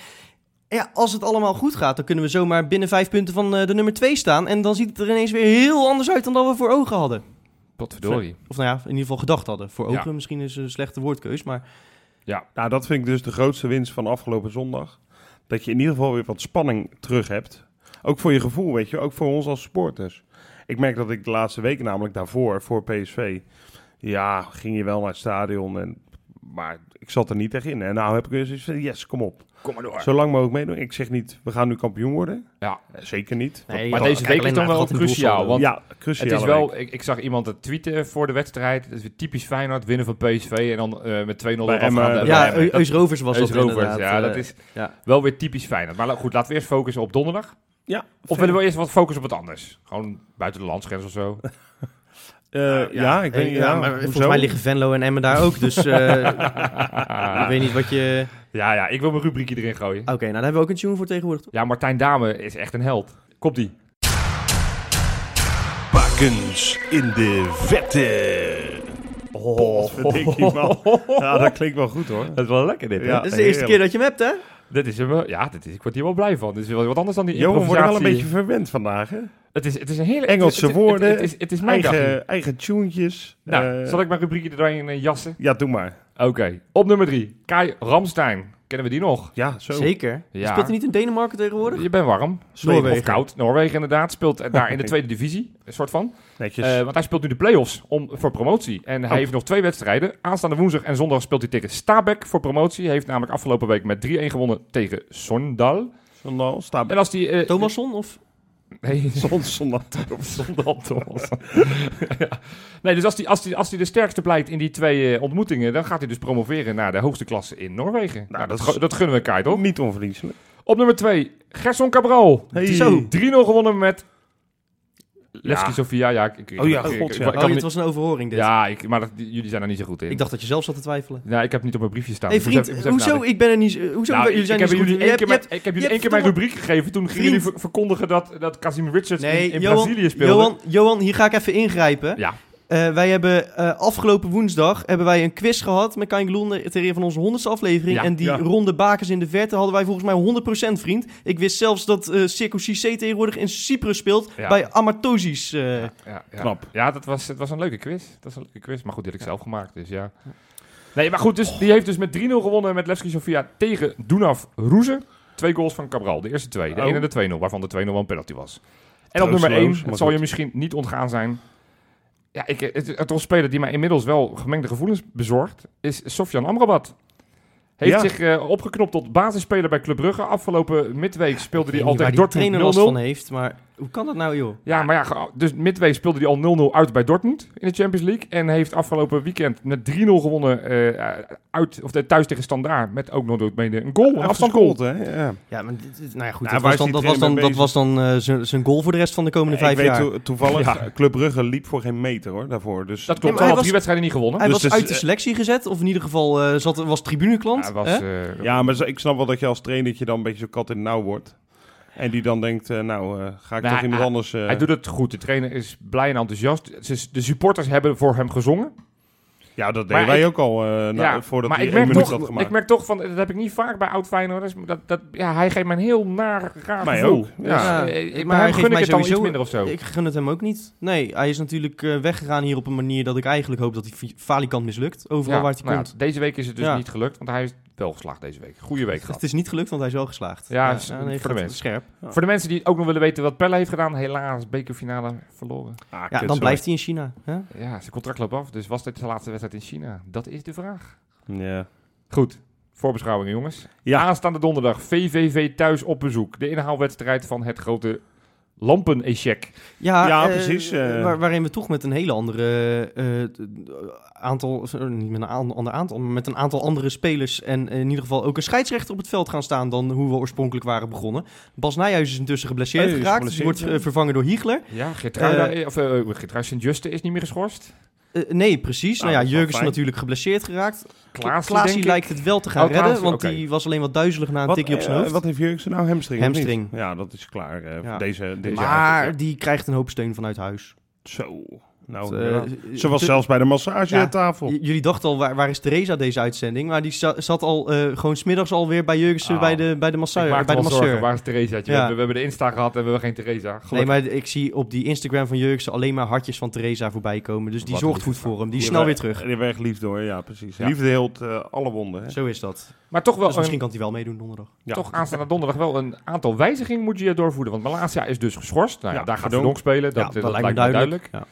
S2: Ja, als het allemaal goed gaat, dan kunnen we zomaar binnen vijf punten van eh, de nummer twee staan. En dan ziet het er ineens weer heel anders uit dan dat we voor ogen hadden.
S3: Potverdorie.
S2: Of nou ja, in ieder geval gedacht hadden. Voor
S3: Ja.
S2: ogen misschien is een slechte woordkeus, maar
S1: Nou, dat vind ik dus de grootste winst van afgelopen zondag. Dat je in ieder geval weer wat spanning terug hebt. Ook voor je gevoel, weet je. Ook voor ons als supporters. Ik merk dat ik de laatste weken namelijk daarvoor, voor PSV... Ja, ging je wel naar het stadion. En, maar ik zat er niet echt in. En nou heb ik weer zoiets van, yes, kom op.
S3: Kom maar door.
S1: Zo lang mogelijk meedoen. Ik zeg niet, we gaan nu kampioen worden.
S3: Ja.
S1: Eh, Zeker niet.
S2: Nee,
S3: maar
S2: joh,
S3: deze
S2: kijk
S3: week
S2: alleen
S3: is dan
S2: maar
S3: wel
S2: het gat in
S3: cruciaal.
S2: doelsaldo.
S3: Want
S1: ja,
S3: het
S1: cruciaal.
S3: is wel, ik, ik zag iemand het tweeten voor de wedstrijd. Het is weer typisch Feyenoord, winnen van PSV en dan eh, met 2-0 eraf
S1: Emmen,
S3: gaan, eh,
S1: bij
S2: Ja,
S3: Emmen.
S2: Eu- Eus Rovers was
S3: Eus
S2: dat
S3: Rovers,
S2: inderdaad.
S3: ja,
S2: eh,
S3: dat is
S2: ja.
S3: wel weer typisch Feyenoord. Maar la- goed, laten we eerst focussen op donderdag.
S1: Ja.
S3: Of willen we eerst wat focussen op wat anders? Gewoon buiten de landsgrens of zo.
S1: Eh,
S2: Nou,
S1: ja, ik
S2: eh,
S1: weet niet.
S2: ja,
S1: Ja,
S2: maar
S1: hoezo?
S2: volgens mij liggen Venlo en Emmen daar ook. Dus eh, ik weet niet wat je...
S3: Ja, ja, ik wil mijn rubriekje erin gooien.
S2: Oké, nou daar hebben we ook een tune voor tegenwoordig. toch?
S3: Ja, Martijn Dame is echt een held. Komt ie.
S4: Bakens in de vette.
S1: Oh, Potverdikke man. Ja, dat klinkt wel goed hoor.
S3: Dat is wel lekker dit, hè?
S1: Ja.
S2: Dat is de eerste
S1: heerlijk.
S2: keer dat je hem hebt, hè?
S3: Dit is hem wel- ja, dit is, ik word hier wel blij van. Dit is wel wat anders dan die
S1: Johan wordt wel een
S3: improvisatie.
S1: beetje verwend vandaag, hè?
S3: Het is, het is een hele...
S1: Engelse
S3: het- het- het-
S1: woorden,
S3: Het, is, het is mijn dag hier.
S1: Eigen, eigen tuntjes.
S3: Nou,
S1: Eh,
S3: zal ik mijn rubriekje er dan in eh, jassen?
S1: Ja, doe maar.
S3: Oké, op nummer drie. Kai Ramstein. Kennen we die nog?
S1: Ja, zo.
S2: Zeker.
S3: Ja.
S2: Speelt hij niet in Denemarken tegenwoordig?
S3: Je bent warm.
S2: Noorwegen.
S3: Of koud. Noorwegen inderdaad. Speelt eh, daar in de tweede divisie. Een soort van.
S1: Netjes.
S3: Eh, want hij speelt nu de play-offs om, voor promotie. En hij
S1: Oh.
S3: heeft nog twee wedstrijden. Aanstaande woensdag en zondag speelt hij tegen Stabæk voor promotie. Hij heeft namelijk afgelopen week met 3-1 gewonnen tegen Sondal.
S1: Zondag, staat
S3: En als die... eh,
S2: Thomasson? Of...
S3: Nee,
S1: zon, zondag.
S3: Sondal Thomas. ja. Nee, dus als hij als die, als die de sterkste blijkt in die twee eh, ontmoetingen... dan gaat hij dus promoveren naar de hoogste klasse in Noorwegen. Nou, dat,
S1: dat
S3: gu-
S1: is-
S3: dat gunnen we Kai, toch? Oh,
S1: Niet onverdienstelijk.
S3: Op nummer 2, Gerson Cabral.
S1: Hey.
S2: Zo. Oh,
S3: 3-0 gewonnen met Levski Sofia. Ja, ik, ik,
S1: Oh ja,
S3: ik- ik-
S1: god,
S3: ik-
S1: ja.
S3: ik
S2: Oh,
S3: kan
S2: dit
S3: niet-
S2: was een overhoring dit.
S3: ja, ik, maar dat, die- jullie zijn er niet zo goed in.
S2: Ik dacht dat je zelf zat te twijfelen.
S3: nou, ik heb het niet op mijn briefje staan.
S2: Nee,
S3: dus ik moet
S2: vriend,
S3: even- ik moet even
S2: hoezo? Ik ben er niet... eh, Hoezo?
S3: nadenken. Nou,
S2: jullie zijn
S3: ik heb
S2: niet goed?
S3: jullie
S2: Je
S3: één
S2: hebt-
S3: keer
S2: je
S3: mijn-
S2: hebt-
S3: ik heb jullie
S2: je
S3: één keer
S2: hebt
S3: mijn rubriek gegeven. Toen gingen jullie
S2: Vriend.
S3: ver- verkondigen dat, dat Casimir Richards in-
S2: Nee,
S3: in,
S2: Johan-
S3: Brazilië speelde.
S2: Johan, Johan, hier ga ik even ingrijpen.
S3: Ja,
S2: Eh, wij hebben eh, afgelopen woensdag hebben wij een quiz gehad met Kain Gloende ter ere van onze honderdste aflevering.
S3: Ja,
S2: en die
S1: ja.
S2: ronde bakens in de verte hadden wij volgens mij 100% vriend. Ik wist zelfs dat eh Circo CC tegenwoordig in Cyprus speelt
S3: Ja.
S2: bij Amatozis. eh.
S3: ja, ja.
S1: Knap.
S3: Ja, dat was, het was een leuke quiz. Dat was een leuke quiz. Maar goed, die had ik zelf gemaakt, dus ja. Nee, maar goed, dus, die heeft dus met 3-0 gewonnen met Levski Sofia tegen Dunav Roeze. Twee goals van Cabral, de eerste twee. De
S1: Oh.
S3: 1 en de 2-0, waarvan de 2-0 wel een penalty was. En op
S1: Troosteloos,
S3: nummer 1,
S1: maar
S3: het zal je
S1: goed.
S3: misschien niet ontgaan zijn. Ja, ik, het, het was een speler die mij inmiddels wel gemengde gevoelens bezorgt, is Sofjan Amrabat. Heeft
S1: Ja.
S3: zich eh, opgeknopt tot basisspeler bij Club Brugge. Afgelopen midweek speelde
S2: Ik weet
S3: hij
S2: niet
S3: al
S2: waar
S3: tegen
S2: die trainer
S3: Dortmund
S2: last
S3: 0-0.
S2: van heeft, maar hoe kan dat nou joh?
S3: Ja, maar ja, ge- dus midweek speelde hij al 0-0 uit bij Dortmund in de Champions League. En heeft afgelopen weekend met 3-0 gewonnen eh, uit, of eh, thuis tegen Standaard. Met ook nog door het mede een goal, een afstandsgoal.
S1: Afgeschold, hè? Ja.
S2: Ja, maar dit- dit- nou ja, goed,
S1: Nou,
S2: dat,
S1: waar
S2: was
S1: is
S2: dan,
S1: die
S2: dat, was dan,
S1: trainer
S2: dat
S1: mee
S2: was dan eh, zijn- zijn goal voor de rest van de komende
S1: ik
S2: vijf
S1: weet
S2: jaar.
S1: to- toevallig,
S3: Ja.
S1: Club Brugge liep voor geen meter hoor, daarvoor. Dus
S3: Dat
S2: Nee,
S3: klopt,
S2: maar
S3: al
S2: hij
S3: drie
S2: was-
S3: wedstrijden niet gewonnen.
S2: Hij
S1: Dus
S2: was
S1: het is,
S2: uit de
S1: eh,
S2: selectie gezet, of in ieder geval eh, zat, was tribuneklant.
S3: Hij was,
S2: hè?
S3: eh,
S1: Ja, maar zo- ik snap wel dat je als trainer dat je dan een beetje zo kat in het nauw wordt. En die dan denkt, eh, nou, eh, ga ik
S3: Nou,
S1: toch iemand anders... eh,
S3: Hij doet het goed. De trainer is blij en enthousiast. Ze- De supporters hebben voor hem gezongen.
S1: Ja, dat
S3: Maar
S1: deden wij
S3: ik-
S1: ook al eh, na- voordat
S3: maar
S1: hij
S3: ik
S1: één
S3: merk,
S1: minuut
S3: toch,
S1: had gemaakt.
S3: ik merk toch van, dat heb ik niet vaak bij oud Feyenoorders. maar Dat, dat, ja, hij geeft me een heel naar, raar
S1: Mij
S3: gevoel.
S1: ook,
S3: Dus,
S2: ja.
S3: eh,
S2: Ja,
S3: eh,
S2: maar
S3: maar
S2: hij
S3: hem
S2: geeft
S3: gun ik
S2: mij
S3: het dan iets
S2: sowieso-
S3: minder of zo.
S2: Ik gun het hem ook niet. Nee, hij is natuurlijk eh, weggegaan hier op een manier dat ik eigenlijk hoop dat hij fi- falikant mislukt. Overal
S3: Ja,
S2: waar het
S3: nou ja,
S2: komt.
S3: deze week is het dus
S2: Ja.
S3: niet gelukt, want hij is wel geslaagd deze week. Goede week gehad.
S2: Het is niet gelukt, want hij is wel geslaagd.
S3: Ja, is- voor de
S2: gaat
S3: mensen.
S2: Scherp.
S3: Voor de mensen die ook nog willen weten wat Pelle heeft gedaan, helaas bekerfinale verloren.
S1: Ah,
S2: Ja,
S1: kut,
S2: dan
S1: sorry.
S2: blijft hij in China. Hè?
S3: Ja, zijn contract loopt af, dus was dit zijn laatste wedstrijd in China? Dat is de vraag.
S1: Ja.
S3: Goed, voorbeschouwingen jongens.
S1: Ja.
S3: Aanstaande donderdag, VVV thuis op bezoek. De inhaalwedstrijd van het grote lampen-echec.
S2: Ja,
S1: Ja,
S2: eh,
S1: precies, eh.
S2: waar- waarin we toch met een hele andere eh, eh, aantal, eh, niet met een aan- ander aantal, maar met een aantal andere spelers en in ieder geval ook een scheidsrechter op het veld gaan staan dan hoe we oorspronkelijk waren begonnen. Bas Nijhuis is intussen geblesseerd
S1: Oh, die is
S2: geraakt, die
S1: geblesseerd,
S2: wordt
S1: ja.
S2: eh, vervangen door Hiegler.
S3: Ja, Gertruida, of eh Gertruida Sint-Juste is niet meer geschorst.
S2: Eh, nee, precies. Nou,
S1: Nou, dat
S2: ja,
S1: is wel
S2: Jurgensen
S1: fijn.
S2: natuurlijk geblesseerd geraakt.
S3: Klaasie,
S2: Klaasie
S3: denk ik.
S2: lijkt het wel te gaan
S3: Oh,
S2: redden,
S3: Klaasie,
S2: want
S3: oké.
S2: die was alleen wat duizelig na een
S1: Wat,
S2: tikje op zijn
S1: eh,
S2: hoofd.
S1: wat heeft Jurksen nou? Hamstring? of niet?
S2: Hamstring.
S1: Ja, dat is klaar. eh,
S2: Ja.
S1: Deze, deze
S2: maar
S1: avond,
S2: die krijgt een hoop steun vanuit huis.
S1: ja. Zo. Nou,
S2: Eh,
S1: ja. Ze was
S2: te-
S1: zelfs bij de massagetafel.
S2: J- Jullie dachten al, waar, waar is Theresa deze uitzending? Maar die za- zat al eh, gewoon smiddags alweer bij Jurgensen
S3: Ah.
S2: bij de, bij de,
S3: Ik
S2: masseur,
S3: maakte
S2: bij de
S3: wel zorgen,
S2: masseur.
S3: waar is Theresa? We,
S2: Ja.
S3: hebben, we hebben de Insta gehad en we hebben geen Theresa.
S2: Nee,
S3: Gelukkig.
S2: maar ik zie op die Instagram van Jurgensen alleen maar hartjes van Theresa voorbij komen. Dus die
S3: Wat
S2: zorgt
S3: lief.
S2: goed voor hem. Die is
S1: Ja,
S2: snel
S1: maar-
S2: weer terug.
S1: Die werd liefde hoor, ja precies.
S3: Ja.
S1: Liefde heelt eh, alle wonden. Hè?
S2: Zo is dat.
S3: maar toch wel ehm,
S2: Dus misschien kan hij wel meedoen donderdag.
S1: Ja.
S3: Toch aanstaande donderdag wel een aantal wijzigingen moet je hier doorvoeren. Want Malasia is dus geschorst. Nou ja,
S1: Ja,
S3: daar gaat
S1: Verdonk.
S3: Verdonk spelen. Dat,
S2: Ja,
S3: eh, dat lijkt me duidelijk.
S2: Ja.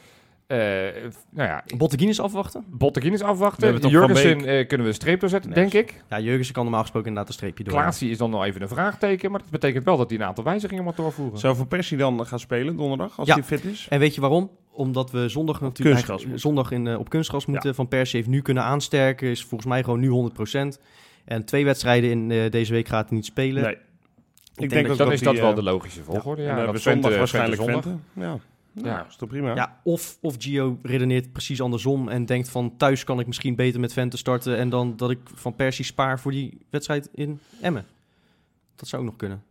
S3: Eh, f- nou ja,
S2: Botteguin is afwachten.
S3: Botteguin is
S1: We hebben
S3: afwachten.
S1: toch Van
S3: Jurgensen eh, kunnen we een streep doorzetten,
S1: Nee.
S3: denk ik.
S2: Ja, Jurgensen kan normaal gesproken inderdaad een streepje door.
S3: Klaasie is dan nog even een vraagteken. Maar dat betekent wel dat hij een aantal wijzigingen moet doorvoeren.
S1: Zou Van Persie dan eh, gaan spelen donderdag, als
S2: Ja.
S1: hij fit is?
S2: En weet je waarom? Omdat we zondag natuurlijk
S1: kunstgras
S2: eigenlijk- zondag in, eh, op kunstgras moeten. Van Persie heeft nu kunnen aansterken. Is volgens mij gewoon nu 100%. En twee wedstrijden in eh, deze week gaat hij niet spelen.
S1: Nee. Ik, denk,
S2: denk
S1: ook
S3: dan is dat
S1: die,
S3: wel
S1: eh,
S3: de logische volgorde. Ja,
S1: en eh, dan
S3: dat
S1: hebben we
S3: Twente-
S1: zondag
S3: Twente
S1: waarschijnlijk
S3: zondag.
S1: Twente. Ja. Nou,
S3: Ja.
S1: is toch prima?
S2: Ja, of, of Gio redeneert precies andersom en denkt van thuis kan ik misschien beter met Vente starten en dan dat ik van Persie spaar voor die wedstrijd in Emmen. Dat zou ook nog kunnen.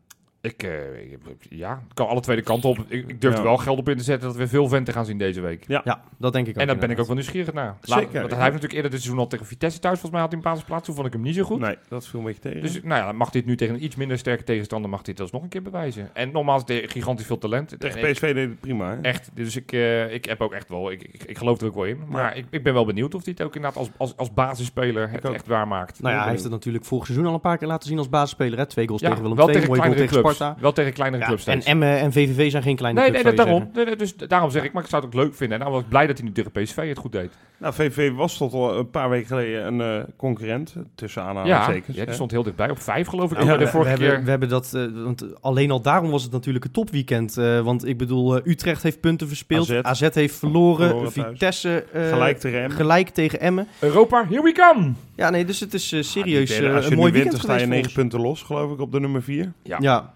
S3: Ik, eh, ik- ja, het kan alle twee de kanten op. Ik, ik durf
S1: Ja.
S3: er wel geld op in te zetten dat we veel venten gaan zien deze week.
S2: Ja, dat denk ik ook.
S3: En daar ben ik ook
S2: inderdaad.
S3: wel nieuwsgierig naar. Laat-
S1: Zeker,
S3: Want
S1: ja.
S3: hij heeft natuurlijk eerder dit seizoen al tegen Vitesse thuis volgens mij had hij een basisplaats. Toen vond ik hem niet zo goed.
S1: Nee, dat viel een beetje tegen.
S3: Dus nou ja, mag dit nu tegen een iets minder sterke tegenstander, mag dit alsnog een keer bewijzen. En nogmaals, de- gigantisch veel talent.
S1: tegen
S3: En ik-
S1: PSV deed het prima. Hè?
S3: Echt, dus ik, eh, ik heb ook echt wel, ik, ik, ik geloof er ook wel in. Maar ik, ik ben wel benieuwd of hij het ook inderdaad als, als, als basisspeler het
S1: ook.
S3: echt waar maakt.
S2: Nou ja, hij heeft het natuurlijk vorig seizoen al een paar keer laten zien als basisspeler. Hè? Twee goals tegen Willem
S3: wel
S2: II,
S3: tegen
S2: mooie goal
S3: kleinere
S2: tegen
S3: clubs.
S2: Sparta.
S3: Wel tegen kleinere
S2: Ja,
S3: clubs
S2: en
S3: steeds.
S2: Emmen en VVV zijn geen kleine
S3: Nee, nee,
S2: clubs,
S3: dat
S2: zou je
S3: daarom. Nee, nee, dus daarom zeg ik, maar ik zou het ook leuk vinden. En dan was ik blij dat hij nu tegen PSV het goed deed.
S1: Nou, VV was tot al een paar weken geleden een eh, concurrent, tussen
S2: Ah,
S3: ja,
S1: aanhalingstekens.
S3: ja, die
S1: hè?
S3: stond heel dichtbij. Op vijf geloof ik.
S1: Ja,
S3: ook bij de
S1: we-
S2: We
S3: vorige keer.
S2: hebben, we hebben dat, eh, want alleen al daarom was het natuurlijk een topweekend. eh, want ik bedoel, eh, Utrecht heeft punten verspeeld,
S1: AZ.
S2: AZ, heeft verloren,
S1: Verloren thuis.
S2: Vitesse eh,
S1: Gelijk tegen hem.
S2: gelijk tegen Emmen.
S3: Europa, here we come!
S2: Ja, nee, dus het is eh, serieus
S1: Ah, die derde-
S2: eh,
S1: Als je
S2: een
S1: nu
S2: mooi
S1: wint,
S2: weekend
S1: dan
S2: geweest
S1: sta je
S2: voor
S1: 9
S2: ons.
S1: punten los, geloof ik, op de nummer 4.
S3: Ja.
S2: Ja,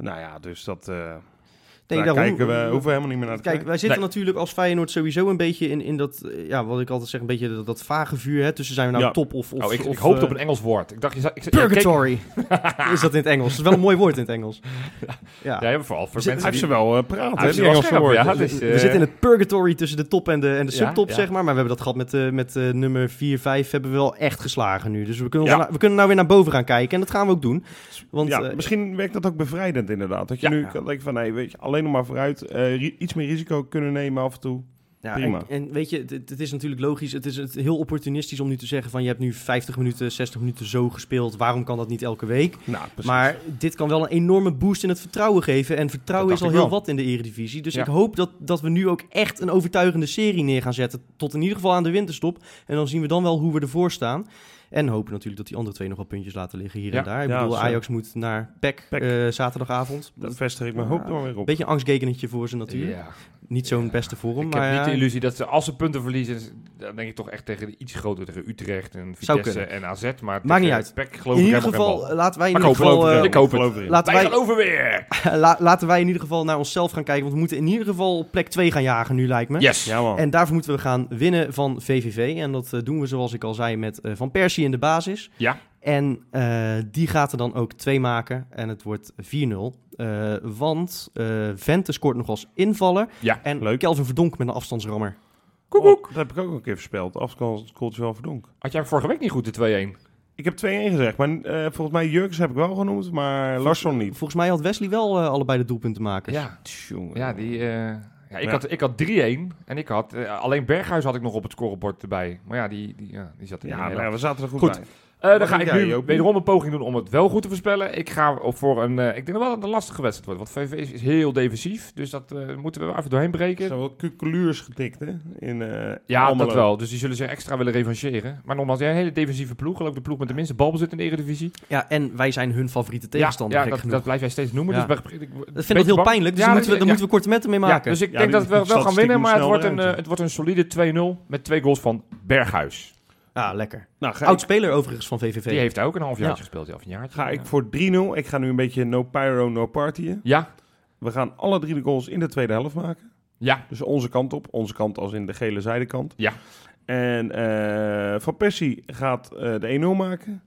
S1: Nou ja, dus dat... eh
S2: nee,
S1: daar
S2: daarom.
S1: kijken we, hoeven we helemaal niet meer naar
S2: Kijk,
S1: te kijken.
S2: wij zitten
S3: Nee.
S2: natuurlijk als Feyenoord sowieso een beetje in, in dat, eh, ja, wat ik altijd zeg, een beetje dat, dat vage vuur. Hè, tussen zijn we nou
S1: Ja.
S2: top of, of,
S3: oh, ik,
S2: of,
S3: ik hoopte
S2: eh,
S3: op een Engels woord. Ik dacht, je zei... Ik, zei- ja, kijk-
S2: Purgatory is dat in het Engels. Dat is wel een mooi woord in het Engels. Ja.
S3: Ja, ja, vooral voor
S2: Zit-
S1: Hij
S3: mensen
S1: heeft ze
S3: die...
S1: wel eh, praat,
S3: Hij
S1: hè,
S3: heeft
S1: die
S3: ze wel
S1: Engelse
S3: scherp,
S1: woorden.
S3: ja.
S1: Dus-
S3: dus,
S2: we
S3: eh,
S2: zitten in het purgatory tussen de top en de, en de
S3: Ja,
S2: subtop,
S3: ja.
S2: zeg maar. Maar we hebben dat gehad met, eh, met eh, nummer 4, 5 hebben we wel echt geslagen nu. Dus we kunnen,
S1: Ja.
S2: ons nou- we kunnen nou weer naar boven gaan kijken. En dat gaan we ook doen. Want
S1: ja,
S2: eh,
S1: misschien werkt dat ook bevrijdend inderdaad. Dat je
S3: Ja.
S1: nu
S2: Ja.
S1: kan denken van, nee, weet je, alleen nog maar vooruit. eh, ri- iets meer risico kunnen nemen af en toe.
S2: Ja,
S1: Prima.
S2: En, en weet je, het- het, het is natuurlijk logisch. Het is het, heel opportunistisch om nu te zeggen van... je hebt nu 50 minuten, 60 minuten zo gespeeld. Waarom kan dat niet elke week?
S1: Nou, precies.
S2: Maar dit kan wel een enorme boost in het vertrouwen geven. En vertrouwen
S3: Dat
S2: is al
S3: dacht
S2: heel
S3: ik wel.
S2: wat in de eredivisie. Dus
S3: Ja.
S2: ik hoop dat, dat we nu ook echt een overtuigende serie neer gaan zetten. Tot in ieder geval aan de winterstop. En dan zien we dan wel hoe we ervoor staan. En hopen natuurlijk dat die andere twee nog wat puntjes laten liggen hier
S3: Ja.
S2: en daar. Ik
S1: Ja,
S2: bedoel,
S1: zo.
S2: Ajax moet naar PEC,
S1: PEC.
S2: eh, zaterdagavond.
S1: dat vestig ik mijn hoop dan weer op.
S2: Een beetje een angstgekenetje voor ze natuurlijk.
S3: Ja.
S2: Niet zo'n
S3: Ja.
S2: beste vorm,
S3: Ik
S2: maar...
S3: heb niet de
S2: ja.
S3: illusie dat ze, als ze punten verliezen... dan denk ik toch echt tegen de iets groter, tegen Utrecht en Vitesse
S2: kunnen.
S3: en AZ. Maar
S2: Maakt niet uit.
S3: PEC geloof
S2: in
S3: ik
S2: ieder
S3: helemaal geen
S2: geval, eh, laten wij in
S3: Maar
S2: ieder
S3: ik hoop
S2: geval,
S3: het
S2: eh,
S3: ook. ik hoop het.
S1: geloof erin.
S2: laten,
S3: bal. Wij
S2: wij,
S3: geloven weer!
S2: la- laten wij in ieder geval naar onszelf gaan kijken. Want we moeten in ieder geval op plek 2 gaan jagen nu, lijkt me.
S3: Yes!
S1: Ja, man.
S2: En daarvoor moeten we gaan winnen van VVV. En dat eh, doen we, zoals ik al zei, met eh, Van Persie in de basis.
S3: Ja.
S2: En eh, die gaat er dan ook twee maken. En het wordt 4-0. Eh, want eh Vente scoort nog als invaller.
S3: Ja,
S2: en
S1: leuk.
S2: Kelvin Verdonk met een afstandsrammer.
S3: Koek, koek.
S1: Oh, Dat heb ik ook een keer verspeld. Afkoeltje wel verdonk.
S3: Had jij vorige week niet goed de 2-1?
S1: Ik heb 2-1 gezegd, maar eh, volgens mij Jurkens heb ik wel genoemd, maar Larsson niet.
S2: Volgens mij had Wesley wel eh, allebei de doelpunten maken.
S3: Ja.
S1: Tjonge.
S3: Ja, die, eh, ja, ik,
S1: Ja.
S3: Had, ik had 3-1 en ik had, eh, alleen Berghuis had ik nog op het scorebord erbij. Maar ja, die, die, ja, die zat er
S1: Ja,
S3: niet
S1: nou,
S3: meer.
S1: we zaten er goed,
S3: Goed.
S1: bij.
S3: Eh, dan
S1: Wat
S3: ga
S1: denk
S3: ik
S1: jij,
S3: nu
S1: Joop?
S3: wederom een poging doen om het wel goed te voorspellen. Ik ga voor een, eh, ik denk wel dat het een lastige wedstrijd wordt, want VV is, is heel defensief. Dus dat eh, moeten we wel even doorheen
S1: Er
S3: breken.
S1: zijn wel cuculuurs getikt, hè? In, eh,
S3: Ja,
S1: Almelo.
S3: dat wel. Dus die zullen zich extra willen revancheren. Maar nogmaals, ja, een hele defensieve ploeg. Geloof ik de ploeg met de minste balbezit in de Eredivisie.
S2: Ja, en wij zijn hun favoriete tegenstander.
S3: Ja,
S2: gek
S3: ja dat,
S2: genoeg.
S3: dat blijf jij steeds noemen.
S2: Ja.
S3: Dus ik, ik-
S2: Dat
S3: beetje
S2: vind ik heel
S3: bang.
S2: pijnlijk, dus
S3: Ja,
S2: daar
S3: dat-
S2: moeten, we, daar
S3: ja.
S2: moeten we korte metten mee
S3: Ja,
S2: maken.
S3: dus ik
S1: Ja,
S3: denk
S1: die-
S3: dat we wel
S1: die
S3: gaan
S1: statistiek
S3: winnen,
S1: moet
S3: maar het
S1: snel
S3: wordt, een,
S1: eruit,
S3: eh,
S1: ja.
S3: het wordt een solide 2-0 met twee goals van Berghuis.
S2: Ah, lekker.
S1: Nou, ga,
S2: Oud
S1: ik,
S2: speler overigens van VVV.
S3: Die heeft daar ook een half jaar
S2: Ja.
S3: gespeeld, ja, of een jaartje.
S1: ga
S3: Ja.
S1: ik voor 3-0. Ik ga nu een beetje no pyro, no partyen.
S3: Ja,
S1: We gaan alle drie de goals in de tweede helft maken.
S3: ja.
S1: Dus onze kant op. Onze kant als in de gele zijdekant.
S3: Ja.
S1: En eh, Van Persie gaat eh, de 1-0 maken.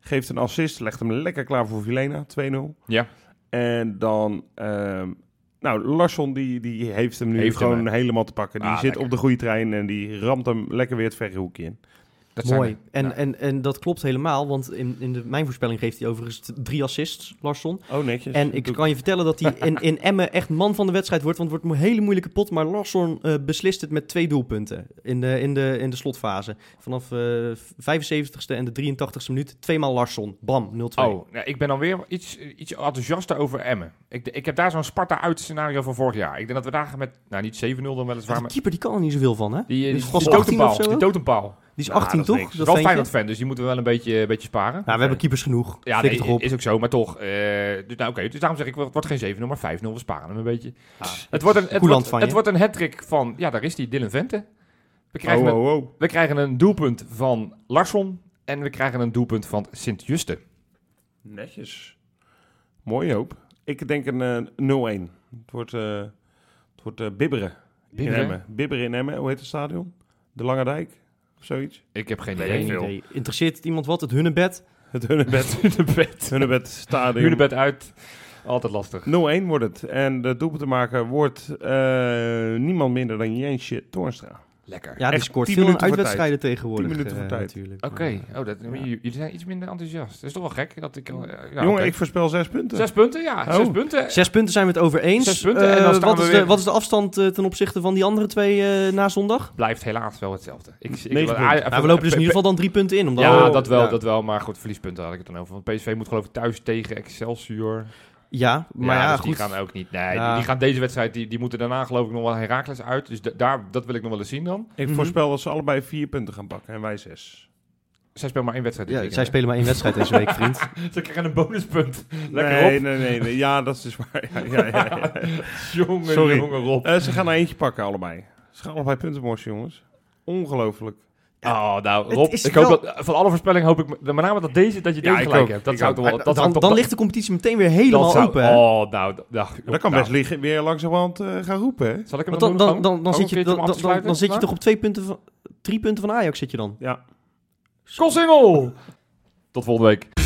S1: Geeft een assist. Legt hem lekker klaar voor Vilena. 2-0.
S3: Ja.
S1: En dan... ehm, nou, Larsson die, die heeft hem nu
S3: Heeft hem,
S1: gewoon helemaal te pakken. Die
S3: Ah,
S1: zit
S3: lekker.
S1: op de goede trein en die ramt hem lekker weer het verre hoekje in.
S3: Dat zijn
S2: Mooi.
S3: er.
S2: En,
S3: Ja.
S2: en, en dat klopt helemaal, want in, in de, mijn voorspelling geeft hij overigens t- drie assists, Larsson.
S1: Oh, netjes.
S2: En ik kan je vertellen dat hij in, in Emmen echt man van de wedstrijd wordt, want het wordt een hele moeilijke pot. Maar Larsson eh, beslist het met twee doelpunten in de, in de, in de slotfase. Vanaf eh 75ste en de 83ste minuut, tweemaal Larsson. Bam, 0-2.
S3: Oh, ja, ik ben dan weer iets, iets enthousiaster over Emmen. Ik, ik heb daar zo'n Sparta-uit scenario van vorig jaar. Ik denk dat we daar gaan met, nou niet 7-0 dan
S2: Ja,
S3: weliswaar,
S2: die
S3: maar
S2: keeper die kan er niet zoveel van, hè? Die,
S3: die, eh, die,
S2: is
S3: die,
S2: vast
S3: dood een
S2: 18
S3: paal.
S2: of zo
S3: Die
S2: ook?
S3: dood een paal.
S2: is
S1: Nou,
S2: 18
S1: dat is
S2: toch?
S1: niks.
S2: Dat
S3: wel
S2: is
S3: fijn
S2: eentje.
S3: dat fan, dus die moeten we wel een beetje, een beetje sparen.
S2: Nou, we hebben keepers genoeg.
S3: Ja,
S2: Flik
S3: nee,
S2: toch op.
S3: is ook zo, maar toch. eh, dus, nou, oké, dus daarom zeg ik, het wordt geen 7-0, maar 5-0. We sparen hem een beetje. het wordt een, het
S2: Koeland
S3: wordt,
S2: van je.
S3: het wordt een hat-trick van, ja, daar is die, Dylan Vente. We krijgen,
S1: Oh,
S3: Een,
S1: oh, oh.
S3: we krijgen een doelpunt van Larsson en we krijgen een doelpunt van Sint-Juste.
S1: Netjes. Mooi hoop. Ik denk een eh, 0-1. Het wordt, eh, het wordt eh, bibberen.
S3: Bibberen?
S1: in Emmen. Bibberen in Emmen. Hoe heet het stadion? De Lange Dijk? Of zoiets?
S3: Ik heb geen
S1: Weet
S3: idee.
S1: ik veel.
S2: Nee, interesseert het iemand wat? Het hunnebed?
S1: Het Hunnebed.
S3: Hunebed.
S1: Hunnebed stadion.
S3: Hunebed uit. Altijd lastig.
S1: 0-1 wordt het. En de doelpuntenmaker wordt eh, niemand minder dan Jensje Toornstra.
S3: Lekker.
S2: Ja, die
S1: Echt
S2: scoort
S1: 10
S2: veel in
S1: minuten voor
S2: uitwedstrijden tegenwoordig.
S1: 10 minuten voor
S2: eh,
S1: tijd.
S2: natuurlijk.
S3: Oké, oh, dat, j- jullie zijn iets minder enthousiast. Dat is toch wel gek. Dat ik, al- ja,
S1: Jongen,
S3: oké.
S1: ik voorspel zes punten.
S3: Zes punten, ja. Zes
S1: Oh.
S3: punten.
S2: Zes punten zijn we het over eens.
S3: Zes punten en dan
S2: Eh,
S3: staan
S2: wat,
S3: we
S2: is
S3: weer-
S2: de, wat is de afstand eh, ten opzichte van die andere twee eh, na zondag?
S3: Blijft helaas wel hetzelfde. Ik, ik,
S1: Negen
S3: Ah,
S1: punten.
S3: even-
S2: Nou, we lopen dus in
S3: P-
S2: ieder geval dan drie punten in. Omdat
S3: Ja,
S2: we-
S3: dat wel,
S1: ja.
S3: dat wel. Maar goed, verliespunten had ik het dan over. Want PSV moet geloof ik thuis tegen Excelsior.
S2: ja, maar ja,
S3: dus
S2: goed.
S3: die gaan ook niet. Nee, die-
S2: Ja.
S3: die, gaan deze wedstrijd, die, die moeten daarna geloof ik nog wel Herakles uit. Dus da- daar, dat wil ik nog wel eens zien dan.
S1: Ik
S2: Mhm.
S1: voorspel dat ze allebei vier punten gaan pakken en wij zes.
S3: Zij spelen maar één wedstrijd. dit
S2: Ja, zij
S3: weekend,
S2: spelen maar één wedstrijd deze week, vriend.
S3: hè. Ze krijgen een bonuspunt. Lekker
S1: nee,
S3: op.
S1: nee, nee, nee. Ja, dat is dus waar. Ja, ja, ja, ja.
S3: Jongen,
S1: Sorry.
S3: jongen, Rob.
S1: Eh, ze gaan er eentje pakken, allebei. Ze gaan allebei punten morsen, jongens. Ongelooflijk.
S3: Oh, nou,
S2: Het
S3: Rob.
S2: is
S3: Ik hoop
S2: wel-
S3: dat, van alle voorspellingen hoop ik met name dat, deze, dat je
S1: Ja, ik
S3: deze gelijk
S1: ook.
S3: hebt. Dat
S1: Ik
S3: zou
S1: ook.
S3: toch wel... Dat zou
S2: dan,
S3: toch
S2: dan
S3: wel-
S2: ligt de competitie meteen weer
S3: dat
S2: helemaal
S3: zou-
S2: open. hè?
S3: Oh, nou. d- nou, joh,
S1: Dat kan
S3: nou.
S1: best liggen, weer langzamerhand eh gaan roepen, hè?
S3: Zal ik hem
S2: Want dan,
S3: doen?
S2: dan,
S3: Gewoon-
S2: dan, dan,
S3: gewoon
S2: zit
S3: een
S2: je,
S3: keertje
S2: dan,
S3: om af
S2: dan,
S3: te
S2: dan,
S3: sluiten?
S2: dan zit je
S3: Ja?
S2: toch op twee punten van, drie punten van Ajax zit je dan?
S1: Ja.
S3: Kossingel! Tot volgende week.